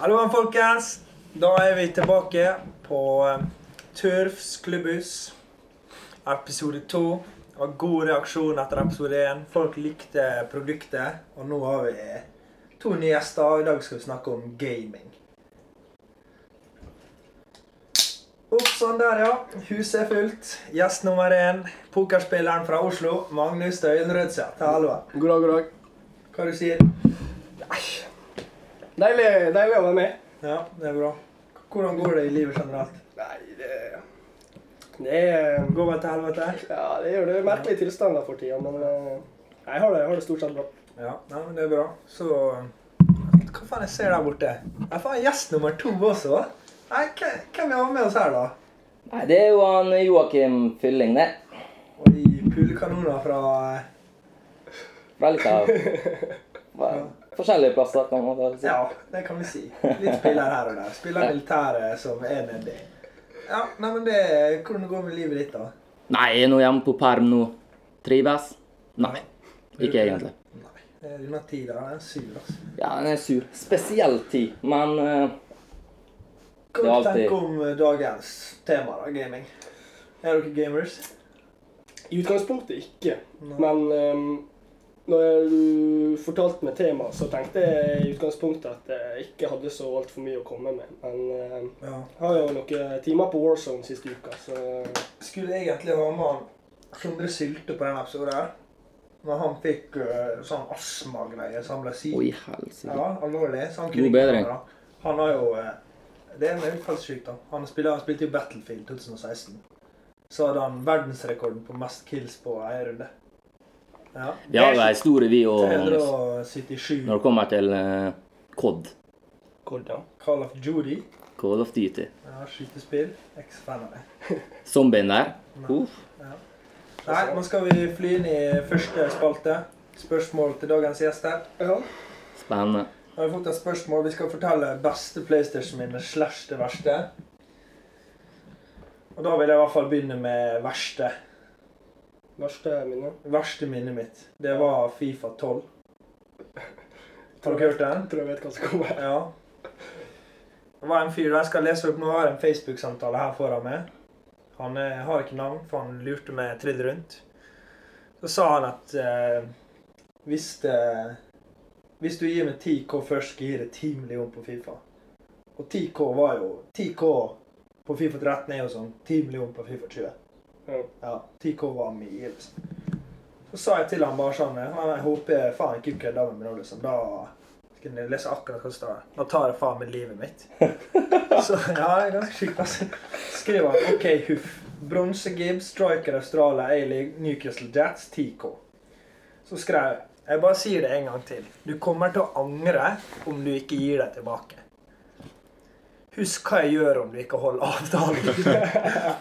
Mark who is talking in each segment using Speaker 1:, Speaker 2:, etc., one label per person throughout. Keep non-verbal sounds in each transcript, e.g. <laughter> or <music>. Speaker 1: Halloen, folkens. Da er vi tilbake på eh, Turfs klubbhus. Episode to. Det var god reaksjon etter episode én. Folk likte produktet. Og nå har vi eh, to nye gjester. og I dag skal vi snakke om gaming. Opp sånn der, ja. Huset er fullt. Gjest nummer én, pokerspilleren fra Oslo, Magnus Støyen Rødseth. Hallo.
Speaker 2: God dag, god dag.
Speaker 1: Hva du sier Nei.
Speaker 2: Deilig, deilig å være med.
Speaker 1: Ja, det er bra. Hvordan går det i livet generelt?
Speaker 2: Nei, det Det er
Speaker 1: Går vel til helvete?
Speaker 2: Ja, det gjør det merkelige tilstander for tida, men eh, jeg har det, jeg har det stort sett bra.
Speaker 1: Ja, nei, men det er bra. Så Hva faen jeg ser der borte? Jeg får en gjest nummer to også. Nei, hva- Hvem vi har med oss her, da?
Speaker 3: Nei, det er jo han Joakim Fylling, det.
Speaker 1: Oi, pulekanoner fra eh,
Speaker 3: Fra litt av fra forskjellige plasser, kan man vel si.
Speaker 1: Ja, det kan vi si. Litt spiller her og der. Spiller militære som er nedi. Ja, nei, men det Hvordan går det med livet ditt, da?
Speaker 3: Nei, jeg er nå hjemme på perm nå. Trives? Nei. Ikke egentlig.
Speaker 1: Nei. det er Denne tida den er sur, altså.
Speaker 3: Ja, den er sur. Spesiell tid, men eh,
Speaker 1: Hva tenker
Speaker 3: Det er
Speaker 1: du
Speaker 3: alltid-
Speaker 1: tenke om eh, dagens tema, da? Gaming. Er dere gamers?
Speaker 2: I utgangspunktet ikke,
Speaker 1: Nei.
Speaker 2: men eh, når du fortalte meg temaet, så tenkte jeg i utgangspunktet at jeg ikke hadde så altfor mye å komme med. Men eh,
Speaker 1: Ja.
Speaker 2: jeg har jo noen timer på Warzone siste uka, så jeg
Speaker 1: skulle egentlig ha med han Sondre Sylte på den episoden her. Men han fikk eh, sånn astmagreie, så han ble syk.
Speaker 3: Oi, helsike.
Speaker 1: Ja, alvorlig. Så han
Speaker 3: God
Speaker 1: ikke
Speaker 3: bedring.
Speaker 1: være med, da. Han har jo eh, Det er en utfallssjuk, da. Han, spiller, han spilte jo Battlefield 2016. Så hadde han verdensrekorden på mest kills på ei runde. Ja.
Speaker 3: Vi har jo ei historie, vi òg, Magnus.
Speaker 1: 377
Speaker 3: Når det kommer til eh, COD.
Speaker 2: Kodda.
Speaker 1: Call of Judy.
Speaker 3: Call of Duty.
Speaker 1: Ja, skytespill. Jeg er ikke så fan av det.
Speaker 3: Zombien der. Uff.
Speaker 1: Nei, nå skal vi fly inn i første spalte. Spørsmål til dagens gjester.
Speaker 2: Ja.
Speaker 3: Spennende.
Speaker 1: Jeg har fått et spørsmål. Vi skal fortelle beste PlayStation-minne slash det verste. Og da vil jeg i hvert fall begynne med verste.
Speaker 2: Verste minne.
Speaker 1: Verste minnet mitt. Det var Fifa 12. Har dere hørt den?
Speaker 2: Jeg tror jeg vet hva som kommer.
Speaker 1: Ja. Det var en fyr der jeg skal lese opp. Nå har jeg en Facebook-samtale her foran meg. Han eh, har ikke navn, for han lurte meg trill rundt. Så sa han at eh, hvis, eh, hvis du gir meg 10K først, skal jeg gi deg 10 millioner på Fifa. Og 10K var jo 10K på Fifa 13 er jo sånn 10 millioner på Fifa 20.
Speaker 2: Ja.
Speaker 1: Ja, 10K var mye. liksom. Så sa jeg til han bare sånn «Ja, Jeg håper faen ikke du kødder med meg nå, liksom. Da skal jeg lese akkurat hva det står. Da tar jeg faen meg livet mitt. Så ja, det er ganske sjukt, altså. Skriver han OK, huff. Bronse Gibbs, Striker Australia, A-League, Newcastle Jets, 10K. Så skrev jeg Jeg bare sier det en gang til. Du kommer til å angre om du ikke gir deg tilbake. Husk hva jeg gjør om du ikke holder avtalen.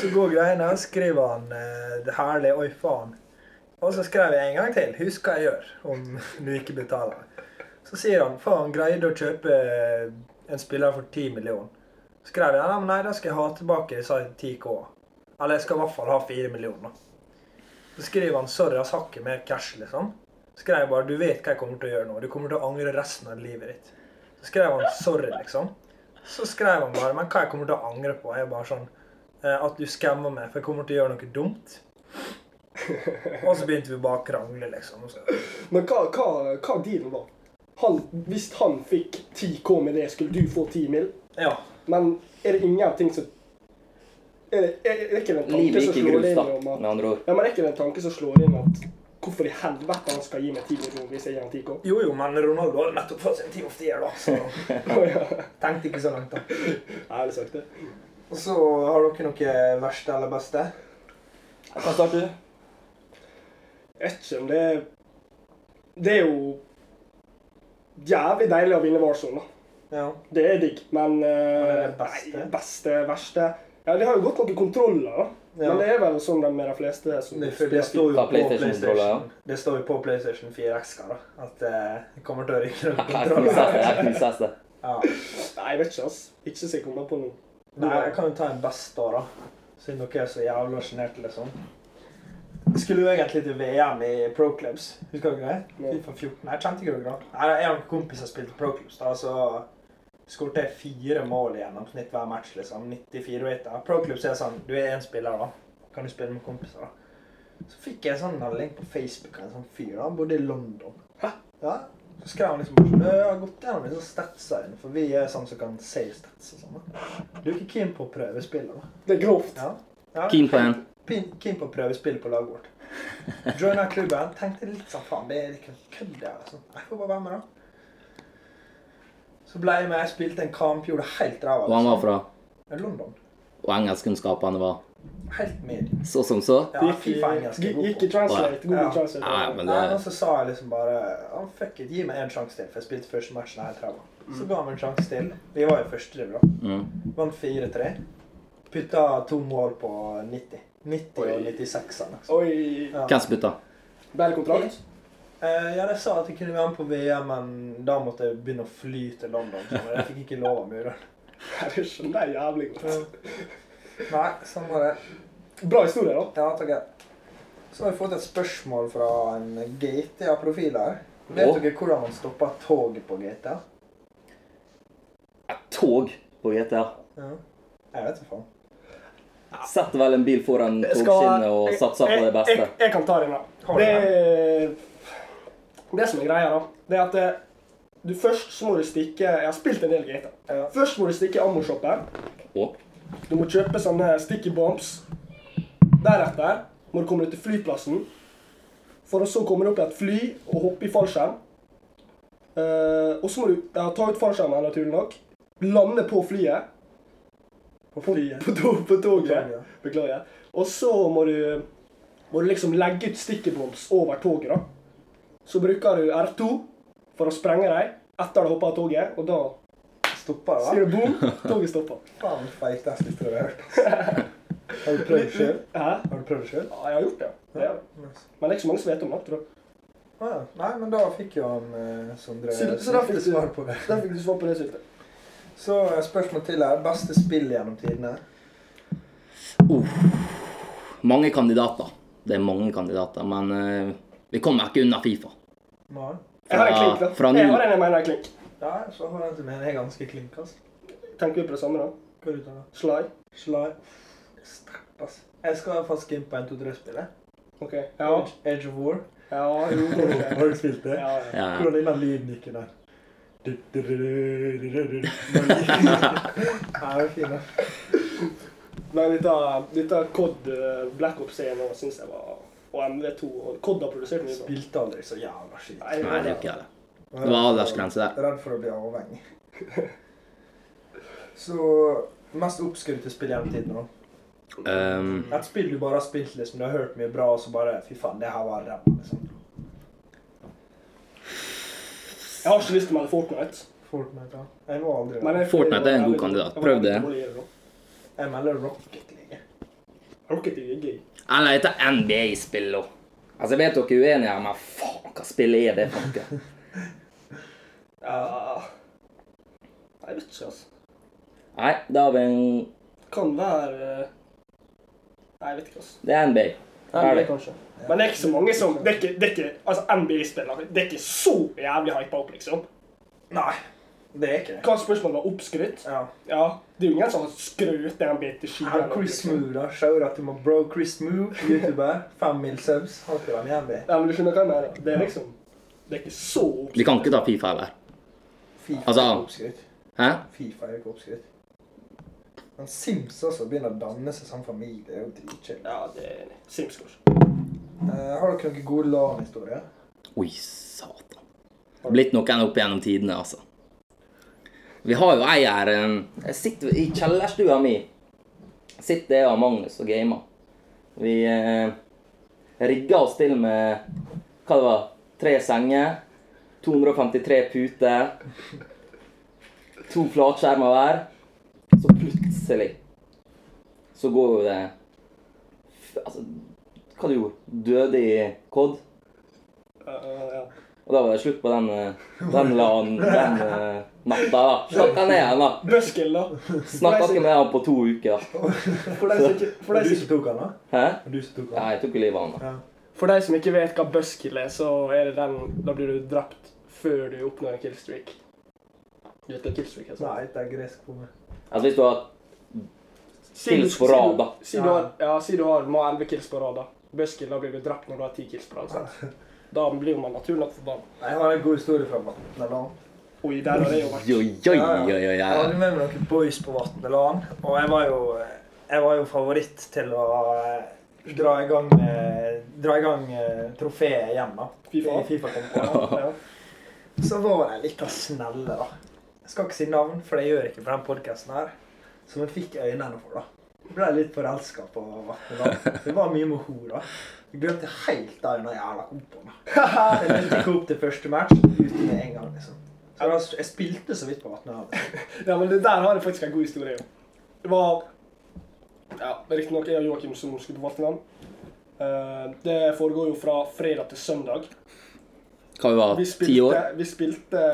Speaker 1: Så går greiene, og skriver han eh, det herlige Oi, faen. Og så skrev jeg en gang til. Husk hva jeg gjør om <laughs> du ikke betaler. Så sier han faen, greide å kjøpe eh, en spiller for 10 millioner. Så skrev jeg «Ja, men nei, da skal jeg ha tilbake sa jeg, 10K. Eller jeg skal i hvert fall ha 4 millioner. Så skriver han sorry, jeg har ikke mer cash, liksom. Så skrev jeg bare du vet hva jeg kommer til å gjøre nå. Du kommer til å angre resten av livet ditt. Så skrev han sorry, liksom. Så skrev han bare men hva jeg kommer til å angre på. Jeg bare sånn eh, at du skammer meg, for jeg kommer til å gjøre noe dumt. Og så begynte vi bare å krangle, liksom. Og så,
Speaker 2: Men hva, hva, hva dealen var? Han, hvis han fikk 10K med det, skulle du få 10 mil?
Speaker 1: ja.
Speaker 2: Men er det ingenting som Er det, er, er det ikke den tanke
Speaker 3: Livet
Speaker 2: som
Speaker 3: gikk i
Speaker 2: slår
Speaker 3: grus,
Speaker 2: inn
Speaker 3: da,
Speaker 2: om at
Speaker 3: med andre ord.
Speaker 2: Ja, men er ikke det en tanke som slår inn at Hvorfor i helvete han skal gi meg 10 millioner hvis jeg gir han
Speaker 3: <laughs>
Speaker 2: 10K?
Speaker 1: Jo jo, men Ronaldo hadde nettopp fått sin Team of the Year, da. Så
Speaker 2: Å, ja.
Speaker 1: tenkte ikke så langt, da.
Speaker 2: Ærlig sagt, det.
Speaker 1: Og så har dere noe verste eller beste?
Speaker 3: Jeg kan starte, du.
Speaker 2: Jeg vet ikke om det er Det er jo jævlig deilig å vinne Warzone, da.
Speaker 1: Ja.
Speaker 2: Det er digg, men
Speaker 1: Men
Speaker 2: eh,
Speaker 1: er det beste?
Speaker 2: nei, beste, verste Ja, de har jo godt noen kontroller, da.
Speaker 1: Ja.
Speaker 2: Men det er vel sånn de med de fleste som
Speaker 1: Det, for det står jo
Speaker 3: Ta
Speaker 1: på
Speaker 3: PlayStation-kontroller,
Speaker 1: PlayStation, det står jo på PlayStation 4 x da, at eh, det kommer til å ryke rundt
Speaker 3: Jeg knuses,
Speaker 1: kontrollen.
Speaker 3: jeg knuses. jeg.
Speaker 1: Ja.
Speaker 2: Nei, jeg vet ikke, ass. Ikke så jeg kommer på noe.
Speaker 1: Nei, jeg kan jo ta en best da, da. Siden dere er så jævla sjenerte, liksom. Jeg skulle jo egentlig til VM i Pro Clubs. Husker dere det?
Speaker 2: Nei.
Speaker 1: FIFA 14. Nei, kjente ikke dere det? Nei, jeg har en kompis som spilte Pro Clubs, da, så Skårte fire mål i gjennomsnitt hver match. liksom. 94 rater. Pro-klubb sier sånn Du er én spiller, da. Kan du spille med kompiser? da? Så fikk jeg en sånn melding på Facebook av en sånn fyr. da. Han bodde i London.
Speaker 2: Hæ?
Speaker 1: Ja. Så skrev han liksom bare sånn, «Øh, Jeg har gått gjennom disse statsa dine, for vi er sånn som kan se stats og sånn. da. Du er ikke keen på å prøve spillet, da?
Speaker 2: Det er grovt.
Speaker 1: Ja. ja.
Speaker 3: Keen på en.
Speaker 1: Pin- Keen på å prøve spill på laget
Speaker 3: <laughs>
Speaker 1: vårt. Joina klubben. Tenkte litt sånn faen, det er ikke kødd her. Altså. Jeg får bare være med, da. Så ble jeg med, jeg spilte en kamp, gjorde helt ræva.
Speaker 3: Og han var fra
Speaker 1: I London.
Speaker 3: Og engelskkunnskapene var
Speaker 1: Helt med.
Speaker 3: så som så.
Speaker 1: Ja,
Speaker 2: Det gikk,
Speaker 1: Fifa engelsk
Speaker 2: i-
Speaker 1: er god
Speaker 2: gikk i
Speaker 1: på.
Speaker 2: translate. Google
Speaker 1: Ja.
Speaker 2: translate.
Speaker 3: Ja, men-
Speaker 1: Nei, men så sa jeg liksom bare «Ah, Fuck it, gi meg en sjanse til, for jeg spilte første matchen helt ræva. Så ga han meg en sjanse til. Vi var i første div, da.
Speaker 3: Mm.
Speaker 1: Vant 4-3. Putta to mål på 90. 90 og 96-ene.
Speaker 2: Oi.
Speaker 1: Ja.
Speaker 3: Hvem som bytta?
Speaker 2: Ble det kontrakt?
Speaker 1: Eh, ja, de sa at jeg kunne være med på VM, men da måtte jeg begynne å fly til London. Så jeg fikk ikke lov av muren.
Speaker 2: <laughs> Det skjønner jeg jævlig godt.
Speaker 1: Nei, sånn var det.
Speaker 2: Bra historie, da.
Speaker 1: Ja, takk. jeg. Så har jeg fått et spørsmål fra en GTA-profil her.
Speaker 3: Å.
Speaker 1: Vet dere hvordan man stopper toget på GTA?
Speaker 3: Et tog på GTA.
Speaker 1: Ja. Jeg vet ikke faen.
Speaker 3: Setter vel en bil foran togskinnet og satser på det
Speaker 2: Jeg,
Speaker 3: beste.
Speaker 2: jeg, jeg kan ta den, da.
Speaker 1: Har du
Speaker 2: Det, det som er greia, da, det er at eh, du først så må du stikke Jeg har spilt en del GTA.
Speaker 1: Ja.
Speaker 2: Først må du stikke i ammoshoppen.
Speaker 3: Og
Speaker 2: Du må kjøpe sånne sticky bombs. Deretter må du komme deg til flyplassen. For å så komme deg opp i et fly og hoppe i fallskjerm. Eh, og så må du ja, ta ut fallskjermen, naturlig nok. Lande på flyet.
Speaker 1: På flyet.
Speaker 2: På, to- på toget.
Speaker 1: Toget.
Speaker 2: Beklager. Og så må du, må du liksom legge ut sticky bombs over toget, da. Så bruker du R2 for å sprenge dem etter du har hoppet av toget, og da
Speaker 1: Stopper det,
Speaker 2: sier du boom, toget stopper.
Speaker 1: <laughs> da? Faen, feiteste historie jeg har hørt.
Speaker 2: <laughs>
Speaker 1: altså. Har du prøvd det sjøl?
Speaker 2: Hæ?
Speaker 1: Har du prøvd det sjøl?
Speaker 2: Ja, jeg har gjort det. ja. det. har jeg. Men det er ikke så mange som vet om det, tror jeg.
Speaker 1: Ah, ja. Nei, men da fikk jo han eh, Sondre
Speaker 2: Så- så da fikk du-
Speaker 1: svar på det.
Speaker 2: Der fikk du svar på det, Sylte.
Speaker 1: Så eh, spørsmål til her. Beste spill gjennom tidene?
Speaker 3: mange kandidater. Det er mange kandidater, men eh, vi kommer ikke unna Fifa.
Speaker 1: Nei.
Speaker 2: Jeg har en
Speaker 3: Fra-
Speaker 2: klink, da.
Speaker 3: fra
Speaker 2: jeg
Speaker 3: null.
Speaker 2: har en jeg mener er klink.
Speaker 1: Ja, så har jeg til meg. Jeg er ganske klink, altså.
Speaker 2: Tenker vi på det samme, da?
Speaker 1: Hva er det da?
Speaker 2: Sly.
Speaker 1: Sly. Sterkt, altså. Jeg skal faktisk inn på 1-2-3-spillet.
Speaker 2: OK. Ja.
Speaker 1: Age- Age of
Speaker 2: <laughs>
Speaker 1: War.
Speaker 2: Ja, jo. ok.
Speaker 1: Har du spilt det?
Speaker 2: Ja, ja.
Speaker 3: Ja, ja.
Speaker 1: Hvordan den lyden gikk
Speaker 2: <laughs>
Speaker 1: der? Du, du, du, du, du, du, du. Ja, det er fint, da.
Speaker 2: Men dette, dette COD eh, Black Ops 1 nå syns jeg var Og MV2 og COD har produsert mye bra.
Speaker 1: Spilte aldri så jævla skit.
Speaker 2: Nei,
Speaker 3: Nei, det er jo ikke det.
Speaker 1: Det
Speaker 3: Det var aldersgrense der.
Speaker 1: Redd for å bli avhengig. <laughs> Så mest oppskrytte spill gjennom tiden, da?
Speaker 3: Ehm,
Speaker 1: Et spill du bare har spilt, liksom, du har hørt mye bra, og så bare Fy faen, det her var ræva, liksom.
Speaker 2: Jeg har ikke lyst til å melde Fortnite.
Speaker 1: Fortnite, ja. Jeg må aldri
Speaker 2: Men
Speaker 1: det.
Speaker 2: jeg,
Speaker 3: Fortnite er en
Speaker 2: jeg-
Speaker 3: god kandidat.
Speaker 2: jeg-
Speaker 3: Prøv det.
Speaker 2: jeg- jeg- jeg-
Speaker 1: Jeg melder Rocket League.
Speaker 2: Rocket League er gøy.
Speaker 3: eller heter NBA-spill òg. Altså, jeg vet dere er uenige her, men faen, hva spill er det for
Speaker 2: <laughs>
Speaker 3: noe?
Speaker 2: Ja. Jeg vet ikke, altså.
Speaker 3: Nei, da har vi en
Speaker 2: Kan være eh, Nei, jeg vet ikke, altså.
Speaker 3: Det er NBA.
Speaker 2: NBA,
Speaker 3: Ferdig.
Speaker 2: kanskje. Men det er ikke så mange som Det er ikke, det er ikke altså NBA-spillere. Det er ikke så jævlig hypa opp, liksom.
Speaker 1: Nei, det er ikke det.
Speaker 2: Hva spørsmålet var oppskrytt?
Speaker 1: Ja.
Speaker 2: Ja, det er jo ingen som har skrøt NBA til
Speaker 1: Her
Speaker 2: skyene.
Speaker 1: er Chris
Speaker 2: liksom.
Speaker 1: Moo, da. Shout out til my bro Chris Moo, youtuber. Fem mil subs. Han spiller med NBA.
Speaker 2: Ja, men du skjønner hva jeg mener. Det er liksom Det er ikke så
Speaker 3: Vi kan ikke ta Fifa heller.
Speaker 1: Fifa
Speaker 3: Altså-
Speaker 1: er ikke oppskrytt.
Speaker 3: Hæ?
Speaker 1: Fifa er ikke oppskrytt. Men Sims også begynner å danne seg som familie. Det er jo dritchill.
Speaker 2: Ja, det er Sims, kanskje.
Speaker 1: Eh, har dere noen gode LAN-historier?
Speaker 3: Oi, satan. Det er Blitt noen opp gjennom tidene, altså. Vi har jo ei her eh, Jeg sitter i kjellerstua mi. Sitter jeg og Magnus og gamer. Vi eh, rigga oss til med hva det var, tre senger, 253 puter, to flatskjermer hver. Så plutselig så går jo det f- Altså, hva du gjorde Døde i COD?
Speaker 2: Ja, ja, ja.
Speaker 3: Og da var det slutt på den, eh, den LAN den eh, natta. da. Snakka ned igjen, da.
Speaker 2: Buskill, da.
Speaker 3: Snakka ikke med han på to uker.
Speaker 2: For de som ikke, for
Speaker 1: Var det
Speaker 2: de
Speaker 1: du
Speaker 2: som,
Speaker 1: som tok han, da?
Speaker 3: Hæ?
Speaker 1: Var det du som tok
Speaker 3: Ja,
Speaker 1: han?
Speaker 3: jeg tok jo livet av han, da.
Speaker 1: Ja.
Speaker 2: for de som ikke vet hva buskill er, så er det den Da blir du drept før du oppnår en killstreak. Du vet hva killstreak er? sant?
Speaker 1: Nei, det er gresk for meg.
Speaker 3: Altså hvis du har
Speaker 2: Si du-
Speaker 3: Kills på rad, da.
Speaker 2: Si du, si du har, ja, si du har må ha 11 kills på rad, da. Buskill, da blir du drept når du har 10 kills på rad. sant? <laughs> Da blir jo man naturlig nok forbanna.
Speaker 1: Nei, Jeg har en god historie fra Vatneland.
Speaker 2: Oi, der har det jo vært.
Speaker 3: Oi, oi, oi, oi,
Speaker 1: Jeg
Speaker 3: oi.
Speaker 1: hadde med meg noen boys på Vatneland, og jeg var jo, jeg var jo favoritt til å eh, dra i gang, eh, dra i gang eh, trofeet igjen, da.
Speaker 2: FIFA.
Speaker 1: I FIFA kom på.
Speaker 2: Ja.
Speaker 1: Så var de litt av snelle, da. Jeg skal ikke si navn, for det gjør jeg ikke på den podkasten her. Som jeg fikk øynene for, da. Jeg ble litt forelska på Vatneland. Det var mye med henne, da. Jeg glemte helt av den jævla kompoen. Jeg løftet ikke opp til første match uten med en gang, liksom. Så jeg var- Jeg spilte så vidt på Vatneland.
Speaker 2: ja, men det der har jeg faktisk en god historie om. Det var Ja, riktignok jeg og Joakim som skulle på Vatnland. Eh, det foregår jo fra fredag til søndag.
Speaker 3: Hva vi var
Speaker 2: Vi
Speaker 3: ti år?
Speaker 2: spilte, vi spilte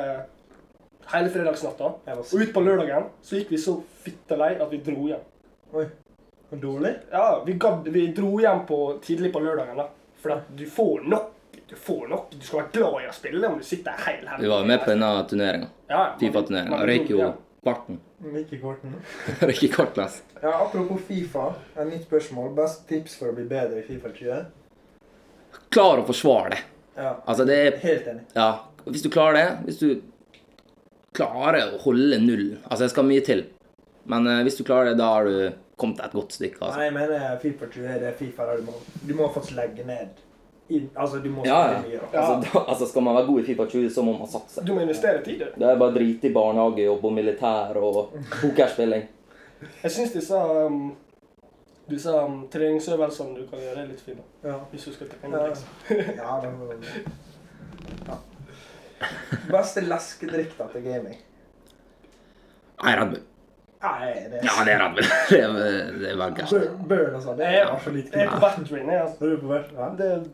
Speaker 2: hele fredagsnatta.
Speaker 1: Jeg var
Speaker 2: Og ut på lørdagen så gikk vi så fittelei at vi dro hjem.
Speaker 1: Oi. Men dårlig?
Speaker 2: Ja, vi, gadd, vi dro hjem på, tidlig på lørdagen, da. For at du får nok. Du får nok. Du skal være glad i å spille om du sitter heil her.
Speaker 3: Vi var jo med på denne turneringa.
Speaker 2: ja, ja,
Speaker 3: Fifa-turneringa.
Speaker 2: men-
Speaker 3: Røyk jo
Speaker 2: ja.
Speaker 3: kvarten. <laughs>
Speaker 1: Mikke Korten.
Speaker 3: Røyk i kortless.
Speaker 1: Ja, apropos Fifa. Et nytt spørsmål. Best tips for å bli bedre i Fifa 20?
Speaker 3: Klar å forsvare det.
Speaker 1: Ja.
Speaker 3: Altså, det er
Speaker 1: Helt enig.
Speaker 3: Ja. Hvis du klarer det, hvis du klarer å holde null Altså, det skal mye til. Men eh, hvis du klarer det, da har du kommet et godt stykke. altså.
Speaker 1: Nei, jeg mener Fifa 20 er det Fifa der du må Du må faktisk legge ned. I, altså, du må
Speaker 3: Ja,
Speaker 1: spille
Speaker 3: ja.
Speaker 1: mye. da.
Speaker 3: Altså, da, altså, skal man være god i Fifa 20, så må man satse.
Speaker 2: Du må investere tid, du.
Speaker 3: Det er bare drit i barnehagejobb og militær og pokerspilling.
Speaker 2: Jeg syns disse, um, disse um, treningsøvelsene du kan gjøre, er litt fine.
Speaker 1: Ja.
Speaker 2: Hvis du skal liksom. til
Speaker 1: Ja.
Speaker 2: pengetriks.
Speaker 1: ja, det må ja. Beste leskedrikk da til gaming?
Speaker 3: Nei, Red Bull.
Speaker 1: Nei, det
Speaker 3: Ja, det er Red Bull. <laughs> Det er, det er bare gærent.
Speaker 1: Burn- Burn og sånn. Det
Speaker 2: Jeg
Speaker 1: er så lite
Speaker 2: jeg er på
Speaker 1: kult.
Speaker 2: vertrin, jeg. Altså.
Speaker 1: Er du på versen? Ja.
Speaker 2: Det,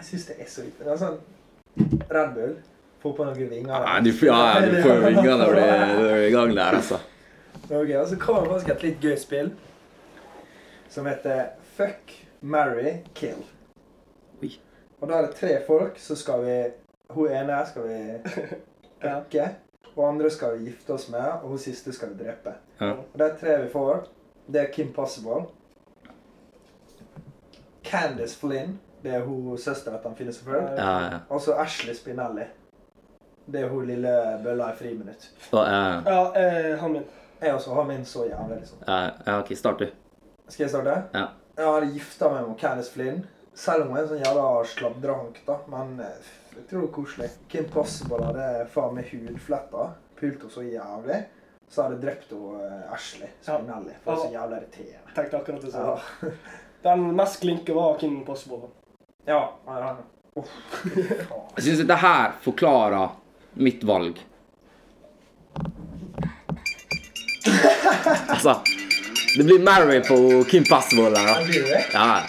Speaker 1: Jeg syns det er så lite. Det er sånn Red Bull. Få på noen vinger.
Speaker 3: Nei, du, ja, ja, du får vingene når du er- når du er i gang der, altså.
Speaker 1: Ok, og så kommer det faktisk et litt gøy spill som heter Fuck, Marry, Kill.
Speaker 3: Oi.
Speaker 1: Og da er det tre folk, så skal vi Hun ene skal
Speaker 3: <laughs>
Speaker 1: vi fucke. Hun andre skal vi gifte oss med, og hun siste skal vi drepe.
Speaker 3: Ja.
Speaker 1: Og de tre vi får, det er Kim Possible. Candice Flynn, det er hun søstera til han Philip Saffer.
Speaker 3: Ja, ja.
Speaker 1: Og så Ashley Spinelli. Det er hun lille bølla i friminutt.
Speaker 3: Og, eh,
Speaker 2: ja, eh, han min.
Speaker 1: Jeg også har min så jævlig, liksom.
Speaker 3: eh, ja, OK, start, du.
Speaker 1: Skal jeg starte?
Speaker 3: Ja.
Speaker 1: Jeg hadde gifta meg med Candice Flynn. Selv om hun er en sånn jævla sladrehank, da. Men eh, jeg tror det er koselig. Kim Possible hadde faen meg hudfletter. Pult henne så jævlig. Så hadde jeg drept hun eh, Ashley Spinelli. For det er så jævla irriterende.
Speaker 2: Tenkte akkurat det
Speaker 1: Ja.
Speaker 2: samme. Den mest klinke var Kim Possible.
Speaker 1: ja, ja. Uff, <laughs> fy faen.
Speaker 3: Jeg syns dette her forklarer mitt valg. <laughs> Altså Det blir Mary på Kim Possible der,
Speaker 1: Her
Speaker 3: da.
Speaker 1: blir det.
Speaker 3: Ja,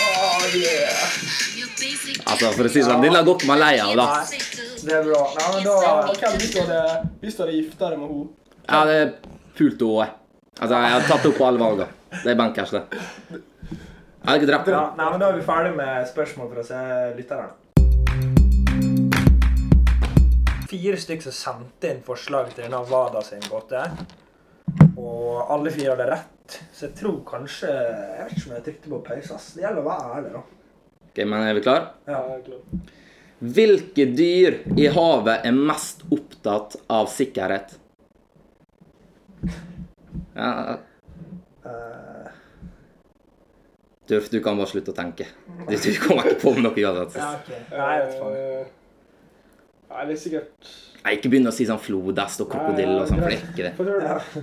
Speaker 1: Oh, yeah.
Speaker 3: altså, for å si det sånn, denne går ikke man lei av, da.
Speaker 1: Det er bra. Nei, men
Speaker 2: Ja,
Speaker 1: da
Speaker 2: og hvem hvis du hadde, hvis du hadde gifta deg med henne?
Speaker 3: Jeg hadde pult henne òg. Altså, jeg har tatt opp alle valgene. Det er bankers, det. Jeg hadde ikke drept
Speaker 1: ja,
Speaker 3: henne.
Speaker 1: Nei, men da er vi ferdig med spørsmål fra se lytterne. Fire stykker som sendte inn forslag til denne Vada sin gåte. Og alle fire hadde rett. Så jeg tror kanskje Jeg vet ikke om jeg trykte på pause. ass. Det gjelder å være ærlig, da.
Speaker 3: Ok, men er vi klar?
Speaker 2: Ja, jeg er klar.
Speaker 3: Hvilke dyr i havet er mest opptatt av sikkerhet? Ja,
Speaker 1: Eh,
Speaker 3: Durf, du kan bare slutte å tenke. Du, du kommer ikke på noe uansett.
Speaker 1: ja, ok. Nei, jeg vet faen.
Speaker 2: Eh, Nei, det er sikkert
Speaker 3: Nei, ikke begynn å si sånn flodhest og krokodille og sånn, for det er ikke det.
Speaker 2: Hva tror du?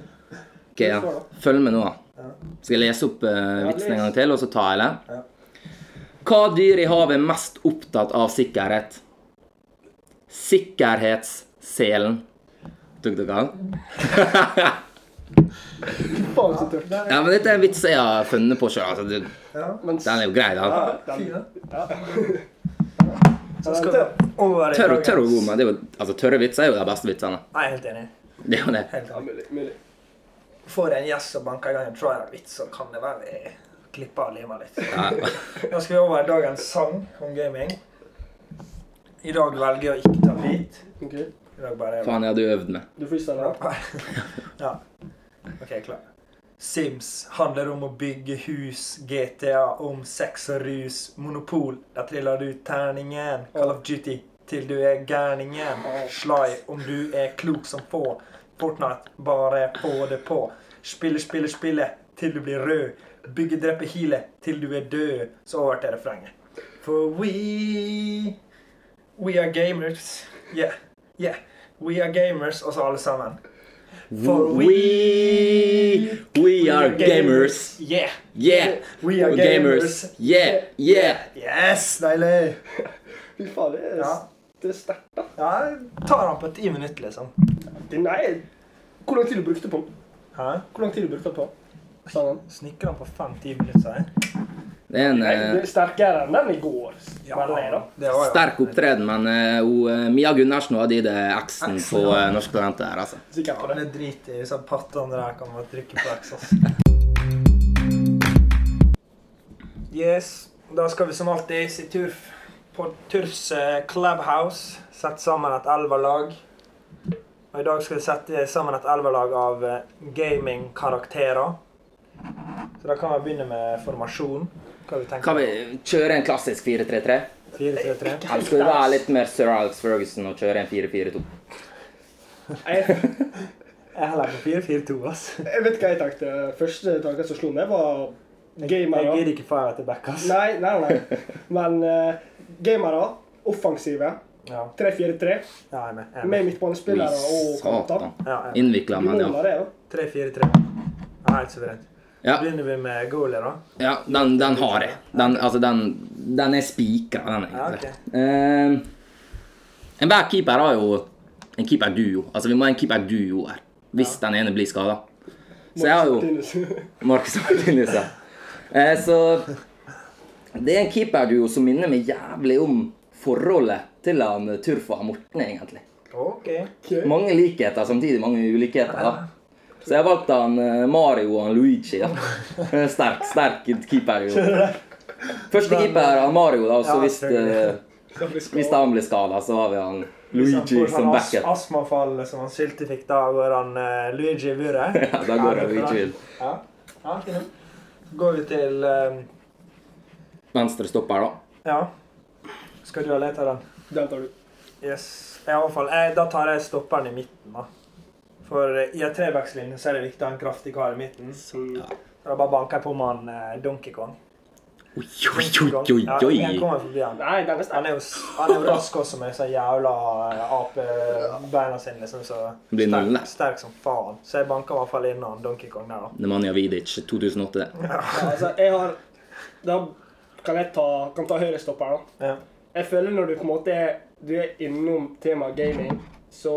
Speaker 3: Ok, ja. Følg med nå. da. Skal jeg lese opp eh,
Speaker 2: Ja,
Speaker 3: vitsen en
Speaker 2: les.
Speaker 3: gang til, og så tar jeg det? Hva dyr i havet er mest opptatt av sikkerhet? Sikkerhetsselen. Tok dere den?
Speaker 2: Faen, så tørt.
Speaker 3: Ja, men dette er en vits jeg har funnet på sjøl. Altså, du-
Speaker 1: Ja.
Speaker 2: Men
Speaker 3: den er jo grei, da.
Speaker 1: Fin, da. <laughs>
Speaker 2: så
Speaker 1: Skal
Speaker 2: skal
Speaker 1: vi over i
Speaker 3: Tørr
Speaker 1: dagens-
Speaker 3: tørr og god, men det er jo, altså, tørre vitser er jo de beste vitsene.
Speaker 1: Nei, helt enig.
Speaker 3: Det er jo det.
Speaker 1: Helt
Speaker 2: Ja,
Speaker 1: enig.
Speaker 2: mulig, mulig.
Speaker 1: Får jeg en gjest som banker i gang en trial-vits, så kan det være vi klipper og limer litt.
Speaker 3: Ja.
Speaker 1: <laughs> Nå skal vi over i dagens sang om gaming. I dag velger jeg å ikke ta hvit.
Speaker 2: Ok.
Speaker 1: I dag bare er det.
Speaker 3: Faen, jeg hadde øvd med.
Speaker 2: Du freestyler?
Speaker 1: Ja. OK, klar. Sims handler om å bygge hus. GTA om sex og rus. Monopol, der triller du terningen. Call of Duty til du er gærningen. Sly om du er klok som få. Fortnite, bare få det på. Spille, spille, spille til du blir rød. Bygge, drepe, hile til du er død. Så over til refrenget. For we We are gamers. Yeah. Yeah. We are gamers, og så alle sammen. For
Speaker 3: We, we are gamers.
Speaker 1: Yeah.
Speaker 3: Yeah.
Speaker 1: We are gamers.
Speaker 3: Yeah. Yeah.
Speaker 1: Yes, deilig.
Speaker 2: Fy faen, det er,
Speaker 1: Ja.
Speaker 2: det er sterkt, da.
Speaker 1: Ja, jeg tar han på ti minutter, liksom.
Speaker 2: Den er Hvor lang tid du brukte på den?
Speaker 1: Hæ?
Speaker 2: Hvor lang tid du brukte på sangen?
Speaker 1: Snikker han på fem-ti minutter, sier jeg.
Speaker 3: Det er en
Speaker 2: Nei,
Speaker 3: eh,
Speaker 2: det er sterkere enn den i går. mener jeg, da.
Speaker 1: det var jo-
Speaker 3: sterk opptreden, men eh, hun, eh, Mia Gundersen hadde i det eksen på eh, Norsk Talent der, altså.
Speaker 1: Ja,
Speaker 2: Sikkert på det.
Speaker 1: det er drit i disse pattene der kan man trykke på X, ass. Yes, da skal vi som alltid si turf. På Turfs eh, clubhouse sette sammen et elverlag. Og i dag skal vi sette sammen et elverlag av eh, gamingkarakterer. Så da kan vi begynne med formasjon. Hva vi
Speaker 3: Kan
Speaker 1: tenker
Speaker 3: vi kjøre en klassisk 4-3-3?
Speaker 1: 4-3-3.
Speaker 3: Eller skal vi være litt mer Sir Alex Ferguson og kjøre en 4-4-2?
Speaker 2: Jeg,
Speaker 1: Jeg er heller på 4-4-2, ass.
Speaker 2: jeg vet hva jeg tenkte. Første tanken som slo meg, var
Speaker 1: Jeg
Speaker 2: gamere.
Speaker 1: gidder ikke fire etter back, ass.
Speaker 2: Nei, nei, nei. Men eh, gamere, offensive,
Speaker 1: Ja,
Speaker 2: 3-4-3,
Speaker 1: ja, jeg er med. Jeg er med.
Speaker 2: med midtbanespillere og kanter.
Speaker 3: Satan.
Speaker 1: Ja, jeg er med.
Speaker 3: Innvikla,
Speaker 2: Du
Speaker 3: men ja.
Speaker 2: måler det, da.
Speaker 1: 3-4-3. Ja, helt suverent.
Speaker 3: Ja,
Speaker 1: Begynner vi med goalie, da?
Speaker 3: ja den, den har jeg. Den, altså, den, den er spikra, den, egentlig.
Speaker 1: Ja,
Speaker 3: Eh, Enhver keeper har jo en keeperduo. Altså, vi må ha en keeperduo her. Hvis den ene blir skada. Så jeg har jo Marcus Martinus, ja. Eh, så det er en keeperduo som minner meg jævlig om forholdet til han eh, Turfa og Morten, egentlig.
Speaker 1: OK.
Speaker 2: Ok.
Speaker 3: Mange likheter, samtidig mange ulikheter. da. Så jeg valgte han eh, Mario og han Luigi. da. Eh, Sterk, sterk keeperduo. Første keeper han Mario, da, og så
Speaker 1: Ja,
Speaker 3: hvis, eh,
Speaker 2: Da blir
Speaker 3: hvis
Speaker 2: skadet.
Speaker 3: han blir skada, så har vi han
Speaker 1: Liksom,
Speaker 3: Luigi som backup.
Speaker 1: Astmafall som han Sylte fikk, da går han eh, Luigi i buret.
Speaker 3: <laughs> Ja, da går han Luigi inn.
Speaker 1: Ja. ja ok, nå. Så går vi til eh,
Speaker 3: Venstre stopper, da.
Speaker 1: Ja. Skal du ha lett av den?
Speaker 2: <laughs> Den tar du.
Speaker 1: Yes. I alle fall, jeg, da tar jeg stopperen i midten, da. For eh, i en trebackslinje så er det viktig å ha en kraftig kar i midten. Så da bare banker jeg på med han eh, Donkey Kong.
Speaker 3: Oi, oi, oi,
Speaker 1: Ja,
Speaker 3: oi,
Speaker 1: jeg
Speaker 3: oi.
Speaker 1: kommer forbi han.
Speaker 2: Nei, den er
Speaker 1: Han
Speaker 2: sterk.
Speaker 1: er jo, han er jo rask også med disse jævla eh, apebeina sine, liksom, så
Speaker 3: Blir nullen, da.
Speaker 1: sterk, sterk som faen. Så jeg banka i hvert fall inn han Donkey Kong der, da.
Speaker 3: Nemanja Vidic, 2008. det.
Speaker 2: Ja, altså, jeg har Da kan jeg ta, kan ta høyrestopper, da.
Speaker 1: Ja.
Speaker 2: Jeg føler når du på en måte er, du er innom temaet gaming, så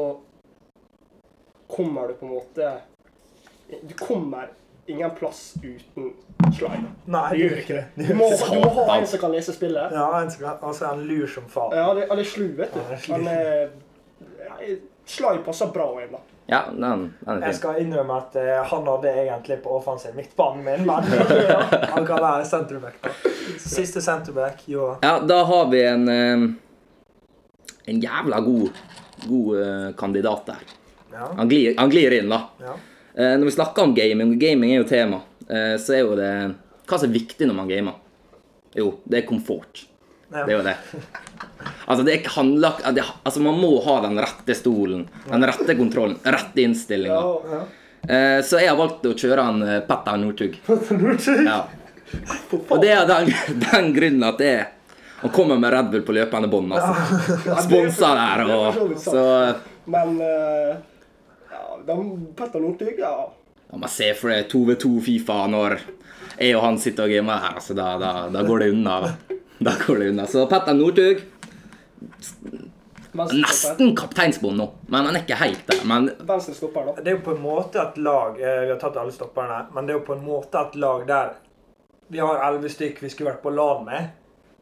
Speaker 2: kommer du på en måte Du kommer ingen plass uten slide.
Speaker 1: Nei,
Speaker 2: Du gjør ikke det.
Speaker 1: <laughs>
Speaker 2: Du må, du må ha en som kan lese spillet.
Speaker 1: Ja, han skal- altså, han lur som faen.
Speaker 2: Ja, det, han er slu, vet
Speaker 1: Ja, han er
Speaker 2: du.
Speaker 1: slu.
Speaker 2: Han er ja, Slide passer bra inn, da.
Speaker 3: Ja, den, den er
Speaker 1: Jeg
Speaker 3: fin.
Speaker 1: skal innrømme at eh, han hadde egentlig på offensiv midtbanen min,
Speaker 2: <laughs>
Speaker 1: men han kan være senterback, da. Så Siste senterback, jo.
Speaker 3: Ja, da har vi en eh, En jævla god God eh, kandidat der.
Speaker 1: Ja.
Speaker 3: Han glir, han glir inn, da.
Speaker 1: ja.
Speaker 3: Eh, Når vi snakker om gaming, og gaming er jo tema, eh, så er jo det Hva som er viktig når man gamer? Jo, det er komfort.
Speaker 1: Ja.
Speaker 3: Det er jo det. Altså, det er handlagt, det, altså man må ha den rette stolen, den rette kontrollen, rette innstillinga.
Speaker 2: Ja,
Speaker 3: Eh, så jeg har valgt å kjøre han eh, Petter Northug. <laughs> Ja. Og det er den, den grunnen at det er Han kommer med Red Bull på løpende bånd, altså. Sponsa der og Så
Speaker 2: Men eh, ja, den- Petter Northug, ja.
Speaker 3: ja, man ser for det 2v2 Fifa når jeg og han sitter og gamer her, altså. Da, da, da går det unna. Da. da går det unna. Så Petter Northug
Speaker 2: Venstrestopper.
Speaker 3: Nesten kapteinsbånd nå, men han er ikke helt der. Men
Speaker 2: Venstrestopper, da.
Speaker 1: Det er jo på en måte et lag eh, Vi har tatt alle stopperne, men det er jo på en måte et lag der vi har elleve stykk vi skulle vært på LAN med.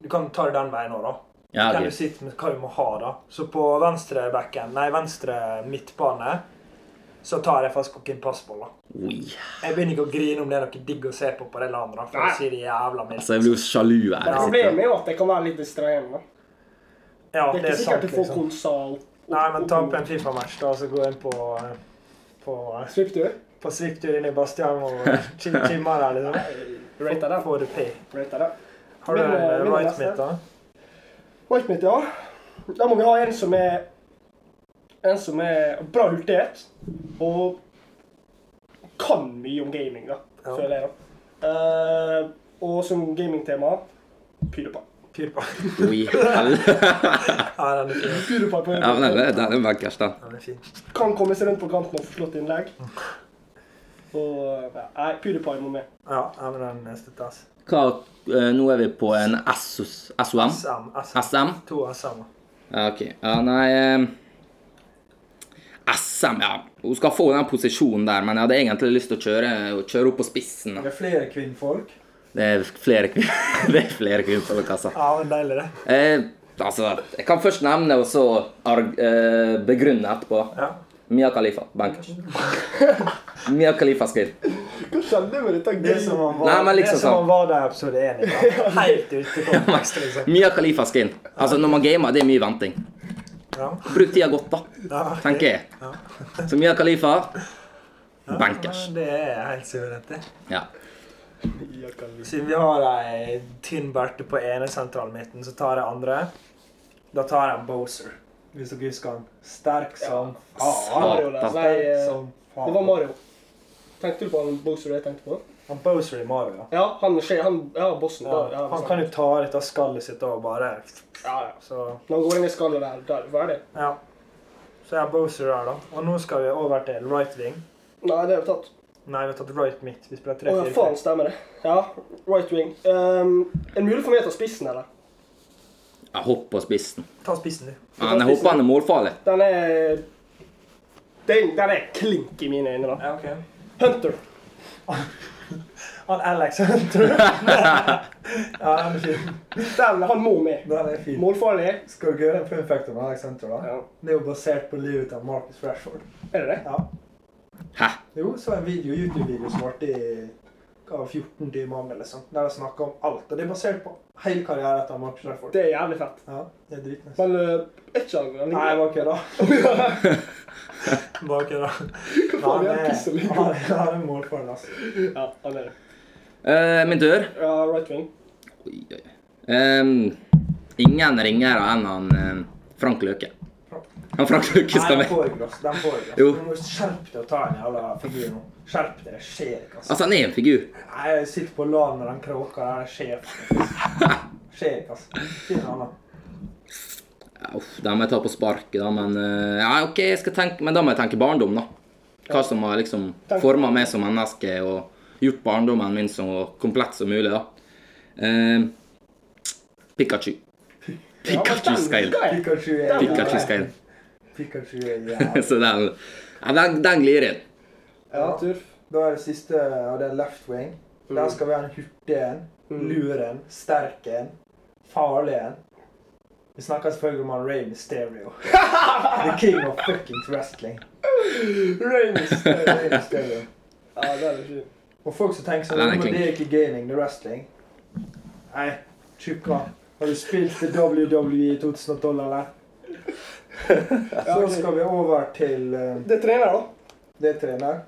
Speaker 1: Du kan ta det den veien òg, da.
Speaker 3: Ja,
Speaker 1: kan
Speaker 3: ok.
Speaker 1: du sitte med hva du må ha, da. Så på venstre bekken, nei, venstre midtbane, så tar jeg faktisk ikke en passball, da.
Speaker 3: oi.
Speaker 1: Jeg begynner ikke å grine om det er noe digg å se på på det landet, da, for
Speaker 2: Nei.
Speaker 1: å si det jævla mildt.
Speaker 3: Altså, jeg blir jo sjalu her. jeg sitter-
Speaker 2: Problemet er jo at det kan være litt distraherende. da.
Speaker 1: Ja,
Speaker 2: Det er ikke sikkert
Speaker 1: sant,
Speaker 2: du får
Speaker 1: liksom.
Speaker 2: konsa opp
Speaker 1: Nei, men ta opp en Fifa-match, da, og så gå inn på, eh, på, eh,
Speaker 2: Svipptur.
Speaker 1: på Svipptur inn i Bastian og eh, chim- chimmer der, liksom.
Speaker 2: Rata den.
Speaker 1: Får du P.
Speaker 2: Rata den.
Speaker 1: Har du en
Speaker 2: Men, eh,
Speaker 1: eh,
Speaker 2: min
Speaker 1: right
Speaker 2: neste.
Speaker 1: mitt, da?
Speaker 2: White meat, ja. Da må vi ha en som er En som er bra hurtighet og kan mye om gaming, da.
Speaker 1: Ja.
Speaker 2: Føler jeg, da. Eh, og som gamingtema PewDiePie.
Speaker 1: Pyrpa.
Speaker 3: Oi, helvete.
Speaker 1: <laughs> Ja, den er fin.
Speaker 2: PewDiePie på
Speaker 3: Ja, men den er- den er bankers, da.
Speaker 1: Den er fin.
Speaker 2: kan komme seg rundt på kanten og få slått innlegg. Og ja, Nei, PewDiePie må med.
Speaker 1: Ja, ja, men den støtter oss.
Speaker 3: Hva, eh, nå er vi på en SOS SOM?
Speaker 1: SM. SM.
Speaker 3: SM?
Speaker 1: To SM-er.
Speaker 3: Ja, OK. Ja, nei eh, SM, ja. Hun skal få den posisjonen der, men jeg hadde egentlig lyst til å kjøre, å kjøre opp på spissen.
Speaker 1: Det
Speaker 3: Da.
Speaker 1: er flere kvinnfolk.
Speaker 3: Det er flere kvinner, <laughs> det er flere kvinnfolk, altså.
Speaker 1: Ja, men deilig, det.
Speaker 3: Eh, altså, jeg kan først nevne og så arg, eh, begrunne etterpå.
Speaker 1: Ja.
Speaker 3: Mia Khalifa,
Speaker 1: <laughs>
Speaker 3: bankers. Mia Khalifa skal inn.
Speaker 2: Hva skjedde med dette
Speaker 1: Det som han var,
Speaker 3: Nei, men liksom
Speaker 1: det som
Speaker 3: sånn.
Speaker 1: han var der i episode 1 <laughs> i dag. Helt
Speaker 3: <laughs>
Speaker 1: ute på kontekst, liksom.
Speaker 3: Mia Khalifa skal inn. Altså, når man gamer, det er mye venting.
Speaker 1: Ja.
Speaker 3: Bruk tida godt, da,
Speaker 1: Ja, ok.
Speaker 3: tenker jeg. Så Mia Khalifa, bankers.
Speaker 1: Men Det er helt suverent, det.
Speaker 3: Ja.
Speaker 1: Siden vi har ei tynn berte på ene sentralmidten, så tar jeg andre. Da tar jeg en Boser. Hvis dere husker han. Sterk som faen.
Speaker 2: Mario der.
Speaker 3: Satan.
Speaker 2: Nei,
Speaker 1: Sterk
Speaker 2: eh,
Speaker 1: som
Speaker 2: det var
Speaker 1: faen.
Speaker 2: Mario. Tenkte du på han Boxer jeg tenkte på?
Speaker 1: Han Boser i Mario, ja.
Speaker 2: Ja, han, skje- han ja, bossen.
Speaker 1: ja.
Speaker 2: da, ja,
Speaker 1: Han kan jo ta dette skallet sitt og bare
Speaker 2: ja, ja.
Speaker 1: Så
Speaker 2: Når han går inn i skallet der, der, hva er det?
Speaker 1: ja. Så jeg har Boser der, da. Og nå skal vi over til right wing.
Speaker 2: Nei, det er jo tatt.
Speaker 1: Nei, vi har tatt right midt. Vi spiller
Speaker 2: Å ja,
Speaker 1: 3-4.
Speaker 2: faen, stemmer det. Ja, right wing. Um, en mulig for meg å ta spissen, eller?
Speaker 3: Jeg hopper på spissen.
Speaker 1: Ta spissen, du.
Speaker 3: Ja, men jeg håper han er målfarlig.
Speaker 2: Den er Den, den er klink i mine øyne, da.
Speaker 1: Ja, ok.
Speaker 2: Hunter.
Speaker 1: Han Alex <laughs> Hunter. ja, den er fin.
Speaker 2: Den, han må med.
Speaker 1: Den er fin.
Speaker 2: Målfarlig.
Speaker 1: Skal du gjøre en fun fact om Alex Hunter, da?
Speaker 2: Ja.
Speaker 1: Det er jo basert på livet til Marcus Rashford.
Speaker 2: Er det det?
Speaker 1: Ja.
Speaker 3: Hæ?
Speaker 1: Jo, så en video, YouTube-video som varte i hva, 14 timer om, eller sånt, der de snakker om alt. Og det er basert på hele karrieren til Marcus Rashford.
Speaker 2: Det er jævlig fett.
Speaker 1: Ja, det er dritnice.
Speaker 2: Men øh, er ikke han han
Speaker 1: Nei, jeg
Speaker 2: ligner-
Speaker 1: bare kødda. Bare kødda.
Speaker 2: faen,
Speaker 1: Han
Speaker 2: jeg
Speaker 1: er-
Speaker 2: pisser meg.
Speaker 1: han er- han er målfaren, altså.
Speaker 2: Ja, han er det.
Speaker 3: Eh, min tur.
Speaker 2: Ja, right wing.
Speaker 3: Oi, oi. Ehm, ingen ringere enn han eh, Frank Løke. Han Frank Løke
Speaker 1: Nei,
Speaker 3: skal
Speaker 1: den
Speaker 3: med.
Speaker 1: får jeg, altså. Den får jeg,
Speaker 3: Jo.
Speaker 1: altså. Du må skjerpe deg og ta en jævla figur nå. Skjerp deg, det skjer ikke, altså.
Speaker 3: Altså, han er en figur.
Speaker 1: Nei, jeg sitter på LAN med den kråka der, det skjer ikke. Skjer ikke, altså. Finn en annen.
Speaker 3: Ja, Uff, den må jeg ta på sparket, da, men eh, Ja, OK, jeg skal tenke Men da må jeg tenke barndom, da. Hva som har liksom forma meg som menneske og gjort barndommen min så komplett som mulig, da. Ehm, Pikachu. Pikachu skal inn.
Speaker 1: Pikachu er
Speaker 3: Pikachu skal inn.
Speaker 1: Pikachu er jævlig.
Speaker 3: <laughs> Så den, ja, den, den glir inn.
Speaker 2: Ja, turf.
Speaker 1: Da er det siste, og det er left wing. Der skal vi ha en hurtig en, lur en, sterk en, farlig en. Vi snakker selvfølgelig om han Ray <laughs> Mysterio. The king of fucking wrestling. Ray <laughs>
Speaker 2: Rain
Speaker 1: Mysterio.
Speaker 2: Ja, den er fin.
Speaker 1: Og folk som tenker sånn
Speaker 3: Den er
Speaker 1: Men
Speaker 3: klink.
Speaker 1: det er ikke gaming, det er wrestling. Nei, tjukka. Har du spilt i WWE E i 2012, <laughs> eller? Så skal vi over til eh,
Speaker 2: Det er trener, da.
Speaker 1: det trener.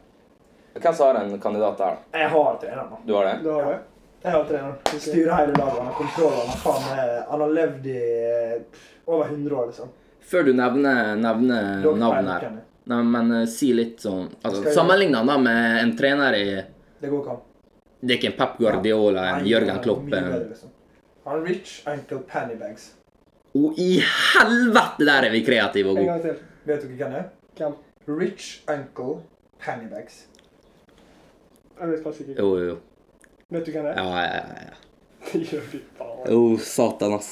Speaker 3: Hvem som har en kandidat der?
Speaker 1: Jeg har trener nå.
Speaker 3: Du har det?
Speaker 2: Du har det.
Speaker 1: Jeg har treneren. Han styrer hele laget. Han har kontroll. Han har, faen, meg- han har levd i eh, over 100 år, liksom.
Speaker 3: Før du nevner, nevner
Speaker 1: Dog
Speaker 3: Eh, navn
Speaker 1: Panic,
Speaker 3: her
Speaker 1: Kenny.
Speaker 3: Nei, men eh, si litt sånn
Speaker 1: Skal
Speaker 3: altså,
Speaker 1: jeg-
Speaker 3: Sammenlign han da med en trener i
Speaker 1: Det går ikke an.
Speaker 3: Det er ikke en Pep Guardiola, en
Speaker 1: Nei,
Speaker 3: Eh, Jørgen
Speaker 1: han er
Speaker 3: Klopp
Speaker 1: mye
Speaker 3: en-
Speaker 1: bedre, liksom. Han er rich uncle Pennybags.
Speaker 3: Å, i helvete, der er vi kreative og
Speaker 2: En
Speaker 3: gode!
Speaker 2: gang til.
Speaker 1: Vet dere hvem det er?
Speaker 2: Hvem?
Speaker 1: Rich uncle Pennybags.
Speaker 2: Jeg vet faktisk ikke.
Speaker 3: Jo, jo, jo.
Speaker 2: Vet du hvem det er? <laughs>
Speaker 3: Ja, ja, ja, ja.
Speaker 2: Det gjør vi faen.
Speaker 3: Jo, satan, ass.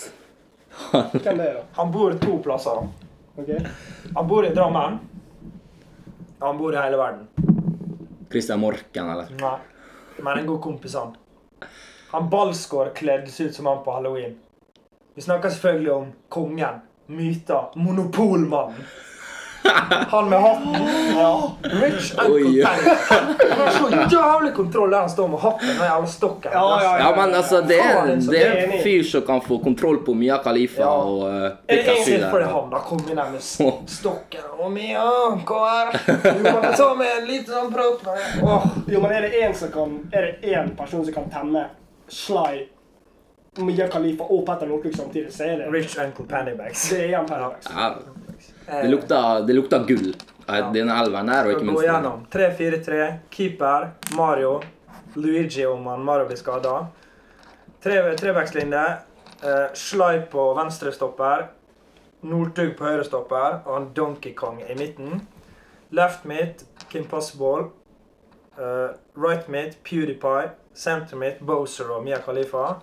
Speaker 2: Hvem det er, da?
Speaker 1: Han bor to plasser. da.
Speaker 2: Ok.
Speaker 1: Han bor i Drammen. Han bor i hele verden.
Speaker 3: Christian Morken, eller?
Speaker 1: Nei. Men en god kompis, han. Han Balsgaard kledde seg ut som han på halloween. Vi snakker selvfølgelig om kongen, myter, monopolmannen. Han med hatten. Ja. Rich Uncle
Speaker 3: Oi.
Speaker 1: Penny. Han har så jævlig kontroll der han står med hatten og den jævla stokken.
Speaker 2: Ja, ja,
Speaker 3: Ja, men altså, det er,
Speaker 1: Faen, liksom,
Speaker 3: det er
Speaker 2: det er
Speaker 3: en
Speaker 2: enig.
Speaker 3: fyr som kan få kontroll på Mia Khalifa
Speaker 1: Ja.
Speaker 3: og uh,
Speaker 1: Er det egentlig fordi
Speaker 3: Pikachu.
Speaker 1: han da kom inn der med s- stokken og Mia, hva er det? Jo, men ta med en liten sånn prøve på det. Åh.
Speaker 2: Jo, men er det én som kan Er det én person som kan temme Sly, Mia Khalifa og Petter Northug samtidig, så er det
Speaker 1: Rich Uncle Pennybags.
Speaker 2: Det er én per dag.
Speaker 3: Ja, det lukter, det lukter gull av denne elven der, og ikke
Speaker 1: Skal gå
Speaker 3: minst den.
Speaker 1: gjennom. 3-4-3, keeper, Mario, Luigi om han Mario blir skada. Trebackslinje. Uh, Sly på venstre stopper. Northug på høyre stopper. Og han Donkey Kong i midten. Left mid, Kim Possible. Eh, right mid, PewDiePie. Center mid, Bozer og Mia Khalifa.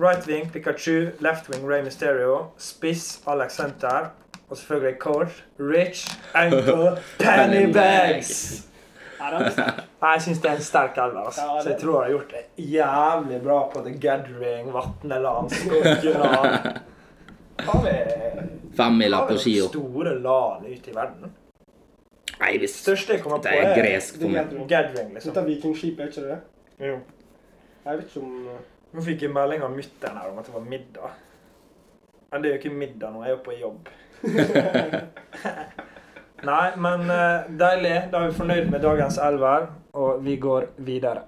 Speaker 1: Right wing, Pikachu. Left wing, Rey Mysterio. Spiss, Alex Center. Og selvfølgelig coach, Rich Uncle
Speaker 3: <laughs>
Speaker 1: Pennybags.
Speaker 2: Ja, den er sterk.
Speaker 1: Nei, Jeg syns det er en sterk elver. Altså.
Speaker 2: Ja, det-
Speaker 1: Så jeg tror han har gjort det jævlig bra på The Gathering, Vatneland, Skorkeland. Har vi
Speaker 3: Femmila
Speaker 1: har vi
Speaker 3: på
Speaker 1: noen
Speaker 3: Skio.
Speaker 1: store LAN ute i verden?
Speaker 3: Nei, hvis
Speaker 1: Største jeg kommer på,
Speaker 3: Det er
Speaker 1: er
Speaker 3: gresk for meg.
Speaker 1: Gathering, liksom.
Speaker 2: Dette er Vikingskipet, er ikke det?
Speaker 1: Jo.
Speaker 2: Jeg vet ikke om
Speaker 1: Nå fikk jeg melding av mutter'n her om at det var middag. Men det er jo ikke middag nå, jeg er jo på jobb. <laughs> Nei, men eh, deilig. Da er vi fornøyd med dagens elver, og vi går videre.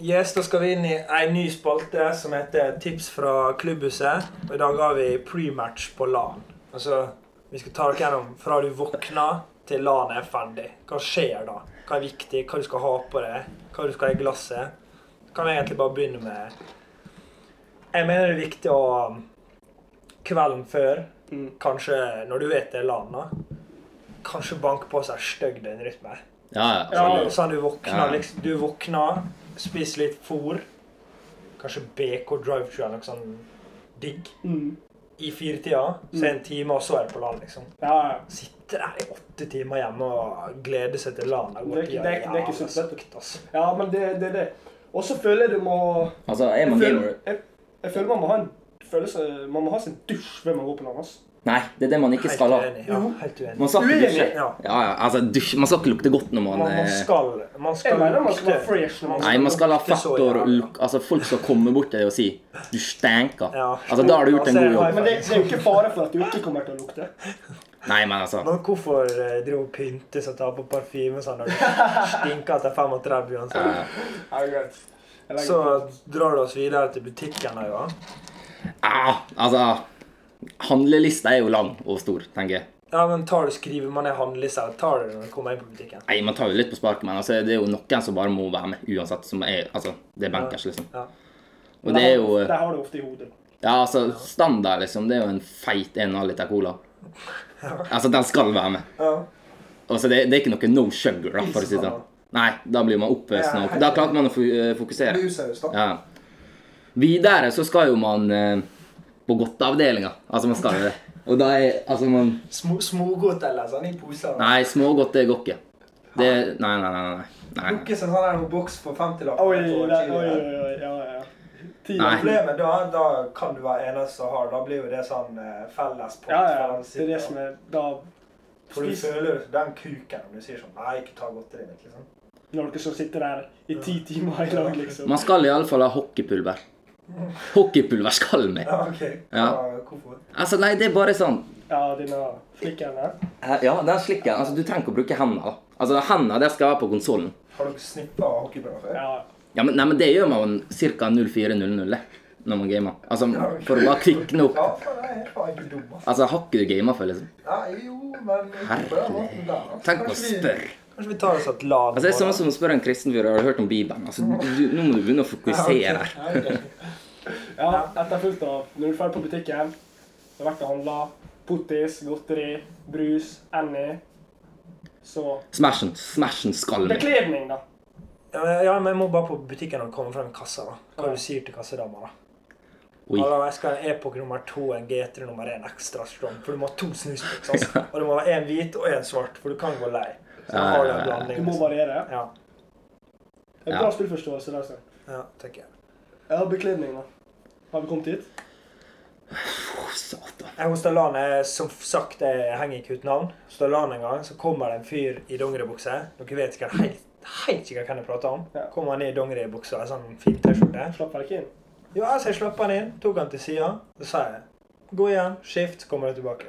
Speaker 1: Yes, da skal vi inn i ei ny spalte som heter Tips fra klubbhuset. Og i dag har vi pre-match på LAN. Altså, vi skal ta dere gjennom fra du våkner til LAN er ferdig. Hva skjer da? Hva er viktig? Hva du skal ha på deg? Hva du skal ha i glasset? Kan vi egentlig bare begynne med Jeg mener det er viktig å Kvelden før,
Speaker 2: Mm.
Speaker 1: kanskje når du vet det er LAN, da. Kanskje banke på seg stygg døgnrytme.
Speaker 3: Ja, ja.
Speaker 1: Sånn, sånn du våkner,
Speaker 3: Ja.
Speaker 1: liksom. Du våkner, spiser litt fôr. Kanskje BK drive-thru eller noe sånn digg.
Speaker 2: mm.
Speaker 1: I firetida. Så en time, og så er det på land, liksom.
Speaker 2: Ja, ja.
Speaker 1: Sitter der i åtte timer hjemme og gleder seg til LAN.
Speaker 2: Det er ikke- det er ikke- det er ikke sunt, vet du.
Speaker 1: altså.
Speaker 2: ja, men det det er det. Og så føler jeg du må
Speaker 3: Altså, er man
Speaker 2: jeg,
Speaker 3: gamer?
Speaker 2: føler- jeg, jeg føler man må ha en følelse Man må ha sin dusj før man går på land. ass.
Speaker 3: Nei, det er det man ikke
Speaker 1: Helt
Speaker 3: skal ha.
Speaker 1: uenig. Ja, helt uenig.
Speaker 3: Man skal ikke
Speaker 2: Uenig,
Speaker 3: dusje. Ja,
Speaker 1: ja.
Speaker 3: ja, altså, dusj, man skal ikke lukte godt når man
Speaker 1: Man, man
Speaker 3: eh,
Speaker 1: skal Man skal
Speaker 2: Jeg mener man skal være
Speaker 1: lukte.
Speaker 2: fresh når man
Speaker 3: Nei, man skal ha
Speaker 1: lukte
Speaker 3: fett
Speaker 1: så
Speaker 3: og
Speaker 1: jævlig.
Speaker 3: luk- Altså, folk skal komme bort til deg og si 'du stenker'.
Speaker 1: Ja.
Speaker 3: Altså, da har du gjort en
Speaker 1: Ja,
Speaker 3: god
Speaker 1: så er
Speaker 3: jobb.
Speaker 2: Men det, det er jo ikke fare for at du ikke kommer til å lukte.
Speaker 3: Nei, men altså
Speaker 1: Men hvorfor eh, driver hun pynte seg og tar på parfyme sånn når du stinker etter 35 uansett?
Speaker 2: Jeg legger
Speaker 1: Så
Speaker 2: på.
Speaker 1: drar du oss videre til butikken da, ja.
Speaker 3: ah, Altså Handlelista er jo lang og stor, tenker jeg.
Speaker 1: Ja, men tar du skriver man er handleliste, eller tar du det når du kommer inn på butikken?
Speaker 3: Nei, Man tar jo litt på sparket, men altså, det er jo noen som bare må være med uansett. Som er, altså, det er bankers, liksom.
Speaker 1: Ja.
Speaker 3: Og det er jo eh,
Speaker 2: Der har du ofte i hodet.
Speaker 3: Ja, altså, standard, liksom. Det er jo en feit 1,5 liter cola. Altså, den skal være med.
Speaker 1: Ja.
Speaker 3: Altså, det, det er ikke noe no sugar, da, for å si det sånn. Nei, da blir man oppøsende. og- Da klarte man å fu- eh, fokusere.
Speaker 1: Useriøst, da.
Speaker 3: Ja. Videre så skal jo man eh, på godteavdelinga. Altså, man skal jo det. Og da er altså man
Speaker 1: Sm Smågodt eller sånn i poser.
Speaker 3: Nei, smågodt det går ikke. Det Nei, nei, nei. nei, nei.
Speaker 1: Lukke seg sånn her boks på 50-lapp.
Speaker 2: Oi, der, oi, oi, oi, ja, ja. Ti-
Speaker 3: Nei.
Speaker 1: Problemet da, da kan du være eneste som har. Da blir jo det sånn eh, felles pott.
Speaker 2: Ja,
Speaker 1: for
Speaker 2: ja.
Speaker 1: alle
Speaker 2: Det er det som
Speaker 1: sitter,
Speaker 2: er Da
Speaker 1: For du
Speaker 2: spiser
Speaker 1: føler jo den kuken når du sier sånn Nei, ikke ta godteriet mitt, liksom. <laughs>
Speaker 2: Når dere så sitter der i ti timer i lag, liksom.
Speaker 3: Man skal iallfall ha hockeypulver. Hockeypulver skal med.
Speaker 1: Ja, OK.
Speaker 3: Ja.
Speaker 1: Hvorfor?
Speaker 3: Altså, nei, det er bare sånn
Speaker 2: Ja, denne flikken der.
Speaker 3: Eh, Ja, den slikken. Altså, du trenger ikke å bruke hendene. da. Altså, hendene det skal være på konsollen.
Speaker 1: Har dere snippa hockeybøller før?
Speaker 2: Ja.
Speaker 3: Ja, men, nei, men det gjør man ca. 04.00 det, når man gamer. Altså, for å bare kvikne opp.
Speaker 1: Ja, faen, jeg er faen ikke dum, ass.
Speaker 3: Altså, har ikke du gamer før, liksom?
Speaker 1: Nei, jo, men ikke på den måten der. ass.
Speaker 3: Tenk på å
Speaker 1: Kanskje vi-
Speaker 3: spørre.
Speaker 1: Kanskje vi tar oss et lag
Speaker 3: Altså, det er
Speaker 1: på
Speaker 3: samme som å spørre en kristen fyr har du hørt om Bibelen. Altså, du, nå må du begynne å fokusere her.
Speaker 1: Ja, ok.
Speaker 2: ja etterfulgt av Når du er ferdig på butikken, det har vært å handle pottis, godteri, brus, Annie. Så
Speaker 3: Smashen, smashen skal med.
Speaker 2: Bekledning, da.
Speaker 1: Ja, men- ja, men jeg må bare på butikken og komme frem i kassa. da. Hva du sier til kassadama, da.
Speaker 3: Oi.
Speaker 1: Hallo, jeg skal ha en Epoch nummer to, en GT nummer én ekstra strong. For du må ha to snuspizzaer.
Speaker 3: <laughs>
Speaker 1: Altså. Og det må være én hvit og én svart, for du kan gå lei. Så da har du en
Speaker 2: Du
Speaker 1: blanding.
Speaker 2: må
Speaker 1: Liksom.
Speaker 2: variere.
Speaker 1: Ja,
Speaker 2: Det altså. er
Speaker 3: Ja.
Speaker 2: bra spillforståelse. der, Sten.
Speaker 1: ja, tenker jeg.
Speaker 2: Ja, bekledning, da. Har vi kommet hit?
Speaker 3: Å, satan.
Speaker 1: Jeg hos Dalane, som sagt, jeg henger ikke ut navn. Hos Dalane en gang så kommer det en fyr i dongeribukse. Dere vet ikke helt, helt ikke hvem jeg prater om.
Speaker 2: Ja.
Speaker 1: Kommer han ned i dongeribukse og en sånn fin T-skjorte.
Speaker 2: Slapp vel ikke inn?
Speaker 1: Jo, altså, jeg slapp han inn, tok han til sida. Så sa jeg gå igjen, skift, så kommer du tilbake.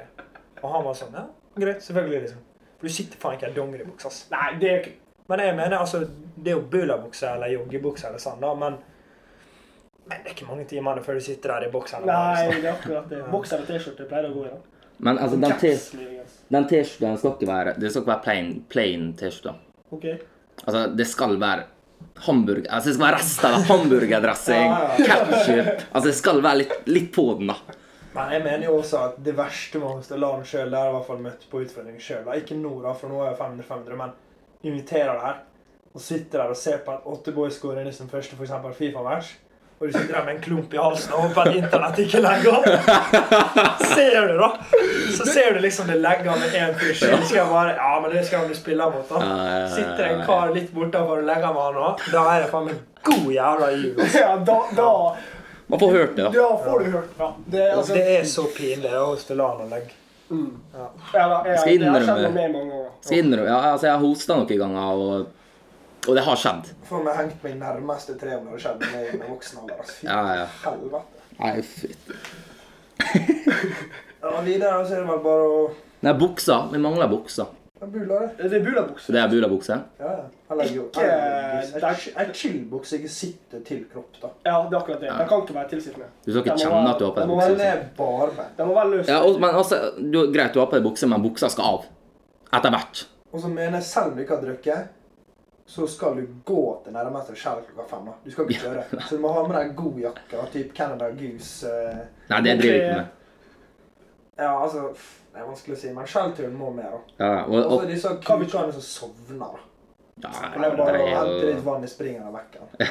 Speaker 1: Og han var sånn ja, greit, selvfølgelig, liksom. For du sitter faen ikke i en dongeribukse, ass.
Speaker 2: Nei, det er ikke
Speaker 1: Men jeg mener, altså, det er jo bulabukse eller joggebukse eller sånn, da, men Men det er ikke mange timene før du sitter der i bokseren. og bare sånn.
Speaker 2: Nei, det er akkurat det. Bokser og T-skjorte pleier å gå i. da.
Speaker 3: Men altså, den
Speaker 2: Caps,
Speaker 3: T-
Speaker 2: muligens.
Speaker 3: den T-skjorten skal ikke være Det skal ikke være plain, plain T-skjorte.
Speaker 2: Ok.
Speaker 3: Altså, det skal være hamburger... Altså, det skal være rester av hamburgerdressing, ketchup Altså, det skal være litt, litt på den, da.
Speaker 1: Men jeg mener jo også at det verste med Hos Delan sjøl, det har jeg i hvert fall møtt på utfordring sjøl. Ikke nå, da, for nå er jeg 500-500, men inviterer deg her og sitter der og ser på at Åtteboy skårer i sin liksom første for eksempel Fifa-match. Og du sitter der med en klump i halsen og håper at internett ikke legger av. Ser du, da? Så ser du liksom det legger av med én fyr sjøl. Skal jeg bare Ja, men det skal han jo spille mot, da.
Speaker 3: Ja, ja, ja, ja,
Speaker 1: Sitter en kar litt bortafor og legger med han òg. Da er det faen meg god jævla jul.
Speaker 2: Ja, da, da,
Speaker 3: Man får hørt det, da.
Speaker 2: da får du hørt. Ja, det er altså
Speaker 1: Det er så pinlig da, hos Delan å legge.
Speaker 2: ja, da, jeg,
Speaker 3: skal
Speaker 2: Det har skjedd
Speaker 3: innrømme-
Speaker 2: med meg mange ganger.
Speaker 3: Skal innrømme ja, Altså, jeg har hosta noen ganger, og, og det har skjedd.
Speaker 1: Får meg hengt meg nærmeste tre om det hadde skjedd med meg i voksen alder. Altså. Fy
Speaker 3: Ja, ja.
Speaker 1: helvete.
Speaker 3: Nei, fytti.
Speaker 1: Ja, videre så er det vel bare å
Speaker 3: Nei, buksa. Vi mangler buksa.
Speaker 1: Ja, Bula, det.
Speaker 2: Det er bulabukser.
Speaker 3: Så det er bulabukse.
Speaker 1: Ja, ja. Eller jo
Speaker 2: Ikke- det er ikke-
Speaker 1: En chillbukse ikke sitter til kropp, da.
Speaker 2: Ja, det er akkurat det. Den kan ikke være tilsittende.
Speaker 3: Du skal ikke
Speaker 2: Den må
Speaker 3: kjenne
Speaker 2: være-
Speaker 3: at du har på
Speaker 2: den
Speaker 3: deg
Speaker 2: må være
Speaker 3: bukse.
Speaker 1: Den er barbeint.
Speaker 2: Den må være løs.
Speaker 3: Ja, og, men altså, du, greit, du har på deg bukse, men buksa skal av. Etter hvert.
Speaker 1: Og så mener jeg, selv om du ikke har drukket, så skal du gå til nærmeste skjell klokka fem. da. Du skal ikke kjøre. Så du må ha med deg en god jakke av type Canada Goose. eh,
Speaker 3: Nei, det driver vi ikke med.
Speaker 1: Ja, altså pff, Det er vanskelig å si, men skjellturen må med, da.
Speaker 3: Ja, og,
Speaker 1: Og
Speaker 3: og,
Speaker 1: så disse kukene som sovner, da.
Speaker 3: nei,
Speaker 1: Det er bare
Speaker 3: det
Speaker 1: å hente
Speaker 3: er
Speaker 1: litt
Speaker 3: jo
Speaker 1: vann i springen og vekke den.